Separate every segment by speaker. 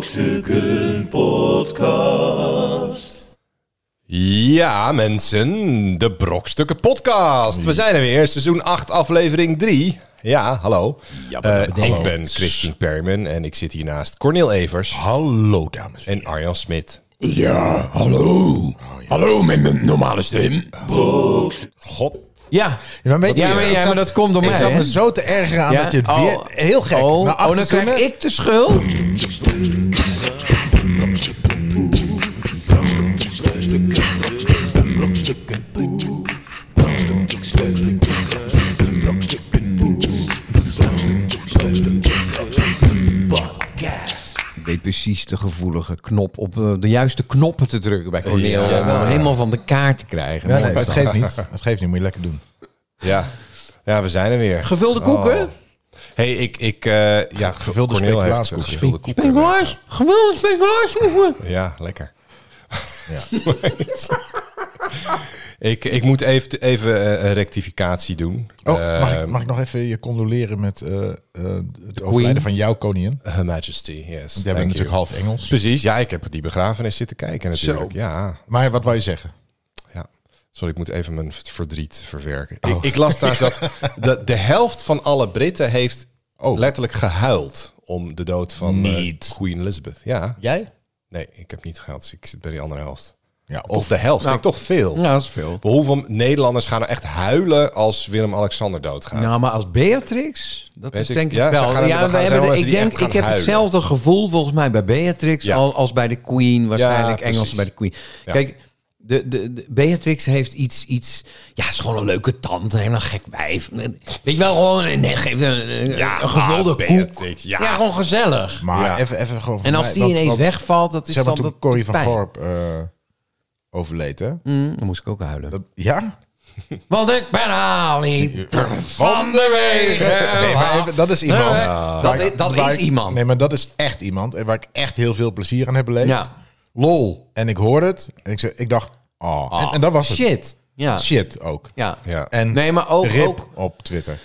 Speaker 1: Brokstukken Podcast.
Speaker 2: Ja, mensen, de Brokstukken Podcast. We zijn er weer, seizoen 8, aflevering 3. Ja, hallo.
Speaker 3: Ja,
Speaker 2: Eh,
Speaker 3: bedankt.
Speaker 2: ik ben Christine Perman en ik zit hier naast Cornel Evers
Speaker 3: Hallo, dames.
Speaker 2: en Arjan Smit.
Speaker 3: Ja, hallo. Hallo, met mijn normale stem.
Speaker 2: God,
Speaker 4: Ja,
Speaker 3: maar weet je,
Speaker 4: ja, maar,
Speaker 3: ik
Speaker 4: ja,
Speaker 3: zat-
Speaker 4: maar dat komt door
Speaker 3: Ik
Speaker 4: mij.
Speaker 3: zat
Speaker 4: hè?
Speaker 3: me zo te ergeren aan
Speaker 4: Ja?
Speaker 3: dat je het
Speaker 4: Oh.
Speaker 3: weer... Heel gek.
Speaker 4: Oh,
Speaker 3: naar achter
Speaker 4: oh, dan krijg
Speaker 3: zoeken.
Speaker 4: ik de schuld. Ik weet precies de gevoelige knop op eh, de juiste knoppen te drukken bij Cornel.
Speaker 2: Ja.
Speaker 4: om hem helemaal van de kaart te krijgen.
Speaker 3: Ja,
Speaker 4: Mooi.
Speaker 3: nee, het geeft niet. Het geeft niet, moet je lekker doen.
Speaker 2: ja. Ja, we zijn er weer.
Speaker 4: Gevulde koeken?
Speaker 2: Oh. hey, ik... ik eh, ja,
Speaker 3: Gevulde
Speaker 2: Cornel heeft
Speaker 3: speculaaskoeken.
Speaker 2: gevulde koeken.
Speaker 4: Speculaas, gemiddeld speculaas moeten.
Speaker 2: Ja, lekker.
Speaker 3: Ja.
Speaker 2: Ik, ik moet even, even eh, een rectificatie doen.
Speaker 3: Oh, mag,
Speaker 2: Eh,
Speaker 3: ik, mag ik nog even je condoleren met eh, eh, het overlijden van jouw koningin?
Speaker 2: Eh, Her Majesty, yes.
Speaker 3: Want
Speaker 2: thank
Speaker 3: jij bent
Speaker 2: you.
Speaker 3: natuurlijk half Engels.
Speaker 2: Precies, ja, ik heb die begrafenis zitten kijken natuurlijk. Ja,
Speaker 3: Maar wat wou je zeggen?
Speaker 2: Ja. Sorry, ik moet even mijn v- verdriet verwerken. Ik, ik las trouwens dat de, de helft van alle Britten heeft
Speaker 3: Oh.
Speaker 2: letterlijk gehuild om de dood van eh,
Speaker 3: Niet.
Speaker 2: Queen Elizabeth. Ja.
Speaker 3: Jij?
Speaker 2: Nee, ik heb niet gehuild, dus ik zit bij die andere helft.
Speaker 3: Ja,
Speaker 2: Of
Speaker 3: of...
Speaker 2: de helft, vind ik toch veel.
Speaker 4: Ja, dat is veel.
Speaker 2: Maar Hoeveel Nederlanders gaan er echt huilen als Willem-Alexander doodgaat?
Speaker 4: Nou, maar als Beatrix, dat
Speaker 2: Weet
Speaker 4: is
Speaker 2: ik-
Speaker 4: denk ik,
Speaker 2: ja, ze
Speaker 4: wel.
Speaker 2: gaan er- er
Speaker 4: ja,
Speaker 2: gaan
Speaker 4: we
Speaker 2: zijn
Speaker 4: hebben,
Speaker 2: wel
Speaker 4: de-
Speaker 2: mensen
Speaker 4: ik
Speaker 2: die
Speaker 4: denk,
Speaker 2: echt
Speaker 4: ik heb
Speaker 2: gaan huilen.
Speaker 4: hetzelfde gevoel volgens mij bij Beatrix
Speaker 2: Ja.
Speaker 4: al, als bij de Queen. Waarschijnlijk
Speaker 2: Ja,
Speaker 4: Engels
Speaker 2: precies.
Speaker 4: bij de Queen.
Speaker 2: Ja.
Speaker 4: Kijk, de, de, de- Beatrix heeft iets, iets... Ja, is gewoon een leuke tante, helemaal gek wijf. Weet je wel, gewoon een, nee, geef een, een, een gevulde
Speaker 2: ah,
Speaker 4: koek.
Speaker 2: Beatrix,
Speaker 4: Ja.
Speaker 2: ja.
Speaker 4: gewoon gezellig.
Speaker 3: Maar
Speaker 2: Ja.
Speaker 3: even, even gewoon... voor
Speaker 4: en als
Speaker 3: mij,
Speaker 4: die
Speaker 3: want-
Speaker 4: ineens
Speaker 3: want-
Speaker 4: wegvalt, dat is
Speaker 3: Zeg maar,
Speaker 4: dan
Speaker 3: toen
Speaker 4: dat
Speaker 3: Corrie van
Speaker 4: pijn.
Speaker 3: Gorp eh, overleed, hè?
Speaker 4: Mm, dan moest ik ook huilen.
Speaker 3: Dat, ja?
Speaker 4: Want ik ben Ali van de wegen.
Speaker 3: Nee, maar even, dat is iemand.
Speaker 4: Nee,
Speaker 3: Waar
Speaker 4: dat
Speaker 3: ik-
Speaker 4: is- dat
Speaker 3: waar
Speaker 4: is
Speaker 3: ik-
Speaker 4: iemand.
Speaker 3: Nee, maar dat is echt iemand. En waar ik echt heel veel plezier aan heb beleefd.
Speaker 4: Ja. Lol.
Speaker 3: En ik hoorde het. En ik, zei, ik dacht, oh. en, en dat was het.
Speaker 4: Ah. Shit. Ja.
Speaker 3: Shit ook.
Speaker 4: Ja.
Speaker 2: Ja.
Speaker 3: En
Speaker 4: Nee, maar ook-
Speaker 3: Rip
Speaker 4: ook-
Speaker 3: op Twitter.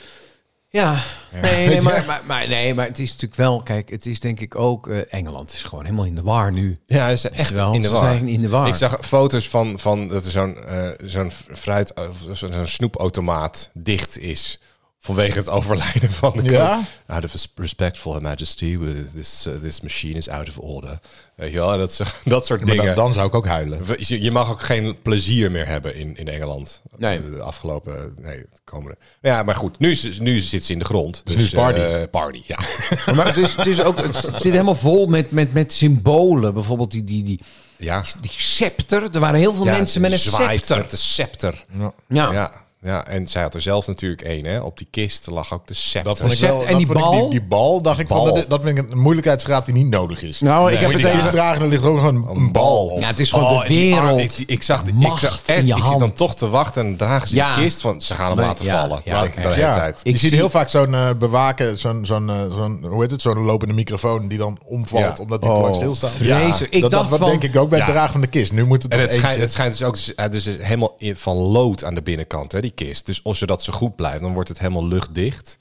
Speaker 4: Ja. Nee, nee, maar, maar, maar, nee, maar het is natuurlijk wel... Kijk, het is denk ik ook... eh, Engeland is gewoon helemaal in de war nu.
Speaker 2: Ja, ze zijn echt
Speaker 4: wel,
Speaker 2: in de
Speaker 4: ze
Speaker 2: war.
Speaker 4: zijn in de war.
Speaker 2: Ik zag foto's van, van dat er zo'n eh, zo'n fruit, of zo'n zo'n snoepautomaat dicht is. Vanwege het overlijden van de
Speaker 3: Ja?
Speaker 2: koning. Out of respect for her majesty, we- this, eh, this machine is out of order. Weet je wel, dat, zo- dat soort
Speaker 3: Maar dan,
Speaker 2: dingen.
Speaker 3: dan zou ik ook huilen.
Speaker 2: We- Je je mag ook geen plezier meer hebben in, in Engeland.
Speaker 4: Nee.
Speaker 2: De afgelopen, nee, het komende. Ja, maar goed, nu, is- nu zit ze in de grond. Dus,
Speaker 3: nu is party.
Speaker 2: eh, party, ja.
Speaker 4: Maar het, is, het, is ook, het zit helemaal vol met, met, met symbolen. Bijvoorbeeld die, die, die,
Speaker 2: ja.
Speaker 4: die scepter. Er waren heel veel
Speaker 2: Ja,
Speaker 4: mensen
Speaker 2: ze
Speaker 4: met een
Speaker 2: zwaait
Speaker 4: scepter.
Speaker 2: Met de scepter.
Speaker 4: Ja.
Speaker 2: Ja, ja, en zij had er zelf natuurlijk één. Hè. Op die kist lag ook de scepter.
Speaker 3: Dat vond ik
Speaker 4: Recept
Speaker 3: wel,
Speaker 4: en
Speaker 3: dat
Speaker 4: die
Speaker 3: vond ik
Speaker 4: bal?
Speaker 3: die, die bal, dacht ik,
Speaker 2: Bal.
Speaker 3: Van, dat, dat vind ik een moeilijkheidsgraad die niet nodig is.
Speaker 4: Nou, ik
Speaker 2: Nee,
Speaker 4: heb
Speaker 2: maar
Speaker 4: het
Speaker 2: die
Speaker 3: Deze
Speaker 4: even...
Speaker 3: dragen er ligt gewoon een, een bal op.
Speaker 4: Ja, het is gewoon de
Speaker 2: en Oh, die arm,
Speaker 4: wereld.
Speaker 2: ik, die- ik zag, ik
Speaker 4: Macht
Speaker 2: zag
Speaker 4: in
Speaker 2: echt,
Speaker 4: je
Speaker 2: ik zit dan
Speaker 4: hand.
Speaker 2: toch te wachten en dragen ze
Speaker 4: Ja.
Speaker 2: die kist van, ze gaan hem
Speaker 4: Nee,
Speaker 2: laten
Speaker 4: ja,
Speaker 2: vallen.
Speaker 4: ja,
Speaker 2: Ja, ik
Speaker 4: oké.
Speaker 2: de hele
Speaker 3: Ja,
Speaker 2: tijd.
Speaker 3: je
Speaker 4: Ik
Speaker 3: ziet
Speaker 4: zie-
Speaker 3: heel vaak zo'n eh, bewaken, zo'n zo'n eh, zo'n hoe heet het, zo'n lopende microfoon die dan omvalt
Speaker 2: Ja.
Speaker 3: omdat die te lang stilstaat.
Speaker 2: Ja.
Speaker 4: Oh, Vreselijk. ik
Speaker 3: dat,
Speaker 4: dacht
Speaker 3: dat,
Speaker 4: van...
Speaker 3: denk ik ook bij het
Speaker 2: Ja.
Speaker 3: dragen van de kist. Nu moet het
Speaker 2: En
Speaker 3: op
Speaker 2: het
Speaker 3: eentje.
Speaker 2: schijnt, het schijnt dus ook eh, dus is helemaal in- van lood aan de binnenkant, hè, die kist. Dus als zodat ze goed blijft, dan wordt het helemaal luchtdicht.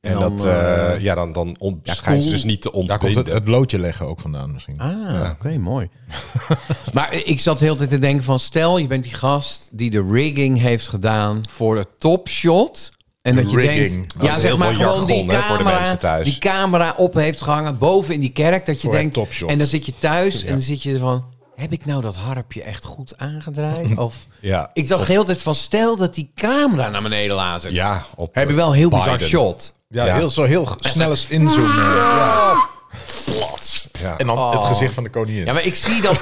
Speaker 2: En,
Speaker 4: En dan,
Speaker 2: dat, eh, ja, dan, dan on- schijnt ze
Speaker 4: cool.
Speaker 2: dus niet te
Speaker 3: Daar komt
Speaker 2: ontbinden.
Speaker 3: het, het loodje leggen ook vandaan misschien.
Speaker 4: Ah, oké, mooi. maar ik zat de hele tijd te denken van... stel, je bent die gast die de rigging heeft gedaan voor de topshot... En
Speaker 3: De
Speaker 4: dat je
Speaker 3: rigging.
Speaker 4: denkt,
Speaker 3: Dat
Speaker 2: is
Speaker 4: ja,
Speaker 2: heel
Speaker 4: zeg maar
Speaker 2: veel
Speaker 4: gewoon die
Speaker 2: jargon, hè, voor de
Speaker 4: camera,
Speaker 2: mensen thuis.
Speaker 4: die camera op heeft gehangen boven in die kerk. Dat je
Speaker 3: Voor een
Speaker 4: denkt,
Speaker 3: topshot.
Speaker 4: en dan zit je thuis en dan zit je van, heb ik nou dat harpje echt goed aangedraaid? Of,
Speaker 2: Ja.
Speaker 4: Ik dacht de hele tijd van, stel dat die camera naar beneden lazert.
Speaker 2: ja, op,
Speaker 4: Heb je
Speaker 2: eh,
Speaker 4: wel een heel bizar
Speaker 2: Biden.
Speaker 4: shot.
Speaker 3: Ja,
Speaker 2: Ja.
Speaker 3: Heel, zo heel snel inzoomen.
Speaker 2: Plats. Ja.
Speaker 3: En dan het gezicht van de koningin.
Speaker 4: Oh. Ja, maar ik zie dan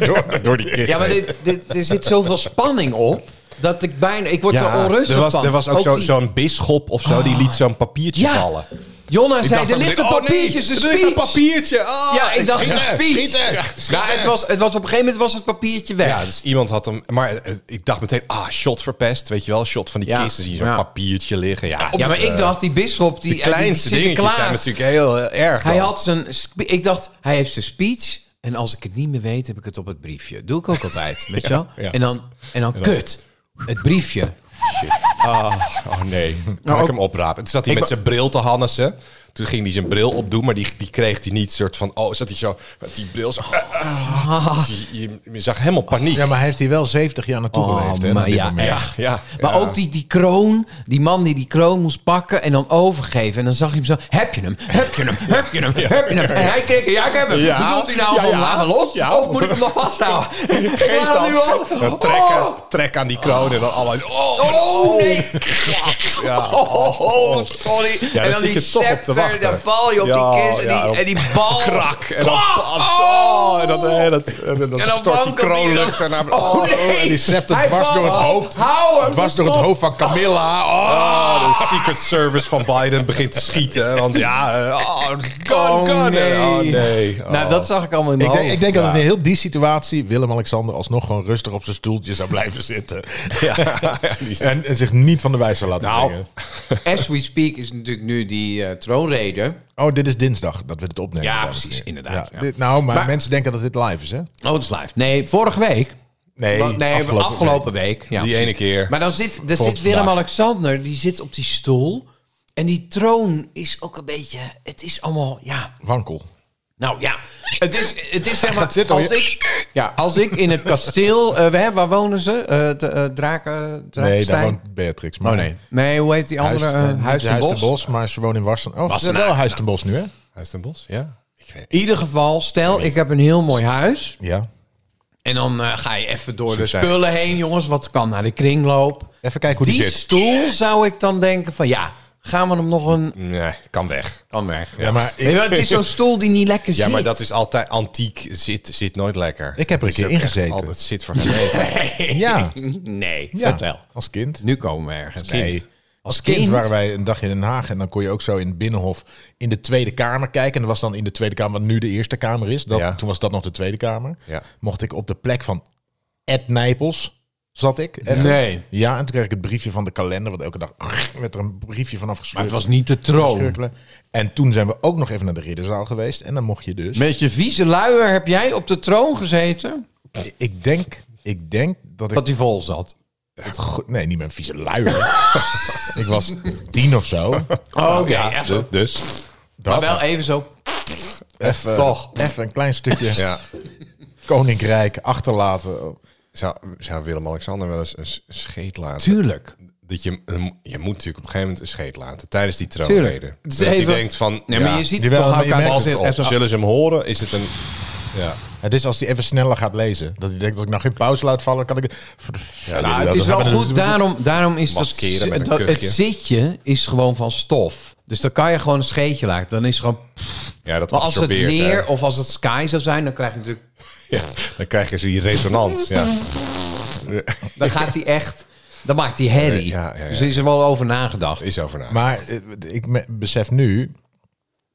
Speaker 2: door, door die kist
Speaker 4: Ja, maar
Speaker 2: heen.
Speaker 4: dit, dit, er zit zoveel spanning op dat ik bijna. Ik word
Speaker 2: Ja,
Speaker 4: er onrustig
Speaker 2: er was,
Speaker 4: van.
Speaker 2: Er was ook, zo-
Speaker 4: die- Ah.
Speaker 2: zo'n bisschop of zo, die liet zo'n papiertje
Speaker 4: Ja.
Speaker 2: vallen.
Speaker 4: Jonna zei:
Speaker 2: dacht
Speaker 4: er
Speaker 2: ook
Speaker 4: ligt een
Speaker 2: meteen, oh nee,
Speaker 4: papiertje, ze
Speaker 2: er ligt een
Speaker 4: speech.
Speaker 2: papiertje. Ah,
Speaker 4: Ja, ik dacht:
Speaker 2: schieten,
Speaker 4: een speech.
Speaker 2: schieten.
Speaker 4: Ja, het was, het was op een gegeven moment was het papiertje weg.
Speaker 2: Ja, dus iemand had hem... Maar eh, ik dacht meteen, ah, shot verpest. Weet je wel, shot van die
Speaker 4: Ja.
Speaker 2: kist. Dan zie je zo'n
Speaker 4: Ja.
Speaker 2: papiertje liggen. Ja,
Speaker 4: Ja, maar ik dacht, die bisschop, die,
Speaker 2: Die kleinste
Speaker 4: die
Speaker 2: dingetjes
Speaker 4: Sinterklaas,
Speaker 2: zijn natuurlijk heel eh, erg.
Speaker 4: Hij
Speaker 2: dan.
Speaker 4: had zijn. spe- Ik dacht, hij heeft zijn speech. En als ik het niet meer weet, heb ik het op het briefje. Doe ik ook altijd, weet je wel?
Speaker 2: ja.
Speaker 4: En dan, en dan kut. Het briefje.
Speaker 2: Oh nee, kan ik
Speaker 4: ook-
Speaker 2: hem oprapen? Toen zat hij
Speaker 4: Nou, Ik
Speaker 2: met
Speaker 4: wa-
Speaker 2: zijn bril te hannissen. Toen ging hij zijn bril opdoen, maar die, die kreeg hij niet soort van... Oh, zat hij zo met die bril zo...
Speaker 4: Ah.
Speaker 2: Dus je, je- je zag helemaal paniek.
Speaker 3: Ja, maar hij heeft hier wel 70 jaar naartoe
Speaker 4: Oh,
Speaker 3: geleefd. Hè,
Speaker 4: maar
Speaker 3: op dit
Speaker 4: ja,
Speaker 3: moment.
Speaker 4: echt.
Speaker 2: Ja, ja.
Speaker 4: Maar ook die, die kroon, die man die die kroon moest pakken en dan overgeven. En dan zag je hem zo, heb je hem, heb je hem, heb je hem, heb je hem. En hij keek, ja, ik heb hem.
Speaker 3: Ja.
Speaker 4: Bedoelt hij nou
Speaker 3: Ja,
Speaker 4: van,
Speaker 3: ja.
Speaker 4: laat me los?
Speaker 3: Ja.
Speaker 4: Of moet ik hem nog vasthouden? Ik
Speaker 2: Geef
Speaker 4: laat hem nu los.
Speaker 2: dan. Dan trekken,
Speaker 4: Oh,
Speaker 2: trek aan die kroon en dan allemaal... Oh,
Speaker 4: oh, nee.
Speaker 2: ja.
Speaker 4: Oh, oh, oh, sorry.
Speaker 2: daar
Speaker 4: en dan
Speaker 2: zit
Speaker 4: die
Speaker 2: je toch op te
Speaker 4: scepter,
Speaker 2: wachten.
Speaker 4: dan val je op
Speaker 2: Ja,
Speaker 4: die kist en,
Speaker 2: ja,
Speaker 4: die,
Speaker 2: op-
Speaker 4: en die bal.
Speaker 2: Krak. En dan
Speaker 4: Oh.
Speaker 2: pas. Oh, en dan, en dat, en dan,
Speaker 4: En dan
Speaker 2: stort die
Speaker 4: wankelt hij
Speaker 2: kroon
Speaker 4: en dan-
Speaker 2: lucht ernaar.
Speaker 4: Oh,
Speaker 2: Oh,
Speaker 4: nee.
Speaker 2: en die scepter
Speaker 4: Hij
Speaker 2: dwars door het
Speaker 4: valt.
Speaker 2: hoofd.
Speaker 4: Hou hem.
Speaker 3: Dwars door het hoofd van Camilla.
Speaker 4: Oh.
Speaker 3: Oh.
Speaker 2: Ah, de Secret Service van Biden begint te schieten. Want ja, eh, oh, gun,
Speaker 4: Oh,
Speaker 2: gun.
Speaker 4: nee.
Speaker 2: Oh, nee.
Speaker 4: Nou,
Speaker 2: Oh.
Speaker 4: dat zag ik allemaal in mijn
Speaker 3: Ik denk,
Speaker 4: hoofd.
Speaker 3: ik denk dat in heel die situatie Willem-Alexander alsnog gewoon rustig op zijn stoeltje zou blijven zitten.
Speaker 2: Ja.
Speaker 3: en, en zich niet van de wijs zou laten
Speaker 4: Nou.
Speaker 3: brengen.
Speaker 4: As we speak is natuurlijk nu die eh troonrede.
Speaker 3: Oh, dit is dinsdag dat we dit opnemen.
Speaker 4: Ja,
Speaker 3: dames en
Speaker 4: precies,
Speaker 3: heren.
Speaker 4: inderdaad, ja.
Speaker 3: dit- nou, maar,
Speaker 4: Maar-
Speaker 3: mensen denken dat dit live is, hè?
Speaker 4: Oh, het is live. Nee, vorige week.
Speaker 3: Nee,
Speaker 4: Wa- nee afgelopen,
Speaker 3: week.
Speaker 4: week. ja.
Speaker 2: Oh, Die ene keer.
Speaker 4: Maar dan zit, dan
Speaker 3: Volgens
Speaker 4: zit Willem-Alexander, die zit op die stoel. En die troon is ook een beetje... Het is allemaal, ja...
Speaker 3: Wankel.
Speaker 4: Nou ja, het is, het is zeg maar...
Speaker 3: zitten,
Speaker 4: als, ik, ja, als ik in het kasteel... eh, we hebben- waar wonen ze? Eh de, eh, Draken,
Speaker 3: Nee, daar
Speaker 4: Drakenstein?
Speaker 3: woont Beatrix. Maar
Speaker 4: Oh nee. Nee, hoe heet die
Speaker 3: Huis,
Speaker 4: andere? eh,
Speaker 3: eh, niet
Speaker 4: Huis, ten Bos.
Speaker 3: Bos, maar ze woont in Wassen. Oh, ze wel Huis ten Bos nu, hè?
Speaker 2: Huis ten Bos, ja. Ik weet
Speaker 4: In ieder geval, stel ik heb een heel mooi huis.
Speaker 3: Ja.
Speaker 4: En dan eh, ga je even door
Speaker 2: Succes.
Speaker 4: de spullen heen, jongens. Wat kan naar de kringloop.
Speaker 3: Even kijken hoe die,
Speaker 4: Die
Speaker 3: zit.
Speaker 4: stoel zou ik dan denken van ja, gaan we hem nog een...
Speaker 2: Nee, kan weg.
Speaker 4: Kan weg.
Speaker 3: Ja, maar ik,
Speaker 4: Weet je wel, het is zo'n stoel die niet lekker zit.
Speaker 2: Ja, maar dat is altijd antiek. Zit, zit nooit lekker.
Speaker 3: Ik heb er een
Speaker 2: Het is
Speaker 3: keer
Speaker 2: ook echt
Speaker 3: ingezeten.
Speaker 2: Altijd zit voor geen leven.
Speaker 3: ja,
Speaker 4: Nee,
Speaker 3: ja.
Speaker 4: vertel.
Speaker 3: Als kind.
Speaker 4: Nu komen we ergens.
Speaker 2: kind.
Speaker 4: Nee. Als
Speaker 3: Als kind,
Speaker 4: kind?
Speaker 3: waren wij een dagje in Den Haag en dan kon je ook zo in het Binnenhof in de Tweede Kamer kijken. En dat was dan in de Tweede Kamer, wat nu de Eerste Kamer is. Dat,
Speaker 2: Ja.
Speaker 3: Toen was dat nog de Tweede Kamer.
Speaker 2: Ja.
Speaker 3: Mocht ik op de plek van Ed Nijpels zat ik. Even.
Speaker 4: Nee.
Speaker 3: Ja, en toen kreeg ik het briefje van de kalender, want elke dag werd er een briefje vanaf
Speaker 4: Maar
Speaker 3: gescheurd.
Speaker 4: het was niet de troon.
Speaker 3: Schurkelen. En toen zijn we ook nog even naar de ridderzaal geweest. En dan mocht je dus...
Speaker 4: Met je vieze luier heb jij op de troon gezeten?
Speaker 3: Ik denk, ik denk dat ik...
Speaker 4: Dat hij vol zat.
Speaker 3: het goed- nee, niet mijn vieze luier. ik was tien of zo.
Speaker 4: Oh, oké.
Speaker 2: Ja,
Speaker 4: echt
Speaker 2: du-
Speaker 4: zo.
Speaker 2: dus.
Speaker 4: maar
Speaker 3: Dat.
Speaker 4: wel even zo.
Speaker 3: even,
Speaker 4: toch.
Speaker 3: Even een klein stukje
Speaker 2: Ja.
Speaker 3: koninkrijk achterlaten.
Speaker 2: Zou, zou Willem-Alexander wel eens een s- scheet laten?
Speaker 4: Tuurlijk.
Speaker 2: Dat je, eh, je moet natuurlijk op een gegeven moment een scheet laten. Tijdens die troonrede.
Speaker 4: Het is
Speaker 2: Dat hij
Speaker 4: even-
Speaker 2: denkt van...
Speaker 4: Nee,
Speaker 2: ja,
Speaker 4: maar je ziet het
Speaker 3: Jawel,
Speaker 4: toch
Speaker 3: maar je
Speaker 4: ook aan-
Speaker 3: merkt
Speaker 2: valt
Speaker 4: als-
Speaker 2: het op.
Speaker 4: als-
Speaker 2: Zullen ze hem horen? Is het een... Ja.
Speaker 3: Het is als hij even sneller gaat lezen. Dat hij denkt, als ik nou geen pauze laat vallen, kan ik...
Speaker 2: Ja,
Speaker 4: Nou,
Speaker 2: dat-
Speaker 4: het is
Speaker 2: dat-
Speaker 4: wel
Speaker 3: dat-
Speaker 4: goed, daarom, daarom is dat,
Speaker 2: Maskeren met een
Speaker 4: dat het
Speaker 2: kuchje.
Speaker 4: zitje is gewoon van stof. Dus dan kan je gewoon een scheetje laten. Dan is het gewoon...
Speaker 2: Ja, dat
Speaker 4: Maar als het
Speaker 2: absorbeert. hè.
Speaker 4: leer of als het sky zou zijn, dan krijg je natuurlijk...
Speaker 2: Ja, dan krijg je zo die resonant. Ja.
Speaker 4: Dan gaat hij echt... Dan maakt hij herrie.
Speaker 2: Ja, ja, ja.
Speaker 4: Dus er is er wel over nagedacht.
Speaker 2: Is over na.
Speaker 3: Maar eh, ik me- besef nu...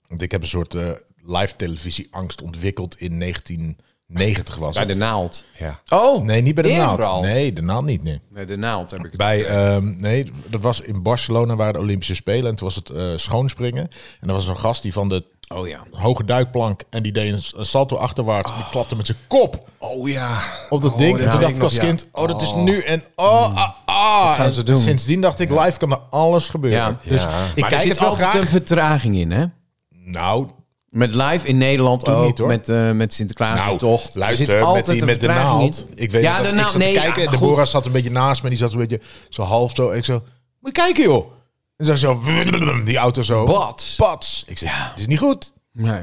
Speaker 3: Want ik heb een soort eh, live televisie angst ontwikkeld in 1990 was
Speaker 4: Bij
Speaker 3: het.
Speaker 4: de naald.
Speaker 2: ja.
Speaker 4: Oh,
Speaker 3: Nee, niet bij de
Speaker 4: eerder al.
Speaker 3: naald. Nee, de naald niet, nee.
Speaker 4: Bij de naald heb ik het.
Speaker 3: Bij, ehm, nee, dat was in Barcelona waren de Olympische Spelen. En toen was het eh, schoonspringen. En er was zo'n gast die van de
Speaker 4: Oh ja.
Speaker 3: hoge duikplank. En die deed een, s- een salto achterwaarts. En die klapte met zijn kop
Speaker 2: Oh ja.
Speaker 3: op dat
Speaker 2: Oh,
Speaker 3: ding. en toen
Speaker 2: weet
Speaker 3: dacht ik
Speaker 2: nog,
Speaker 3: als
Speaker 2: ja.
Speaker 3: kind, oh, dat is nu. En oh, ah, ah.
Speaker 4: Hmm. gaan
Speaker 3: En
Speaker 4: ze doen?
Speaker 3: Sindsdien dacht ik, live kan er alles gebeuren.
Speaker 4: Ja.
Speaker 3: Dus
Speaker 2: Ja.
Speaker 3: ik
Speaker 4: maar er
Speaker 3: kijk
Speaker 4: zit
Speaker 3: het wel
Speaker 4: altijd
Speaker 3: graag.
Speaker 4: een vertraging in, hè?
Speaker 3: Nou,
Speaker 4: Met live in Nederland ook,
Speaker 3: niet, hoor.
Speaker 4: met, eh, met Sinterklaas
Speaker 3: nou
Speaker 4: en tocht. Er zit
Speaker 3: luister, met,
Speaker 4: altijd
Speaker 3: die,
Speaker 4: een
Speaker 3: met de
Speaker 4: vertraging
Speaker 3: naald.
Speaker 4: in.
Speaker 3: Ik weet
Speaker 4: ja,
Speaker 3: dat
Speaker 4: de
Speaker 3: ik
Speaker 4: naald.
Speaker 3: zat te
Speaker 4: Nee, ja,
Speaker 3: kijken.
Speaker 4: maar goed.
Speaker 3: Deborah zat een beetje naast me. Die zat een beetje zo half zo. Ik zo, moet je kijken joh. En zei zo, die auto zo.
Speaker 4: Bats.
Speaker 3: Pats. Ik zeg, dit is niet goed.
Speaker 4: Nee.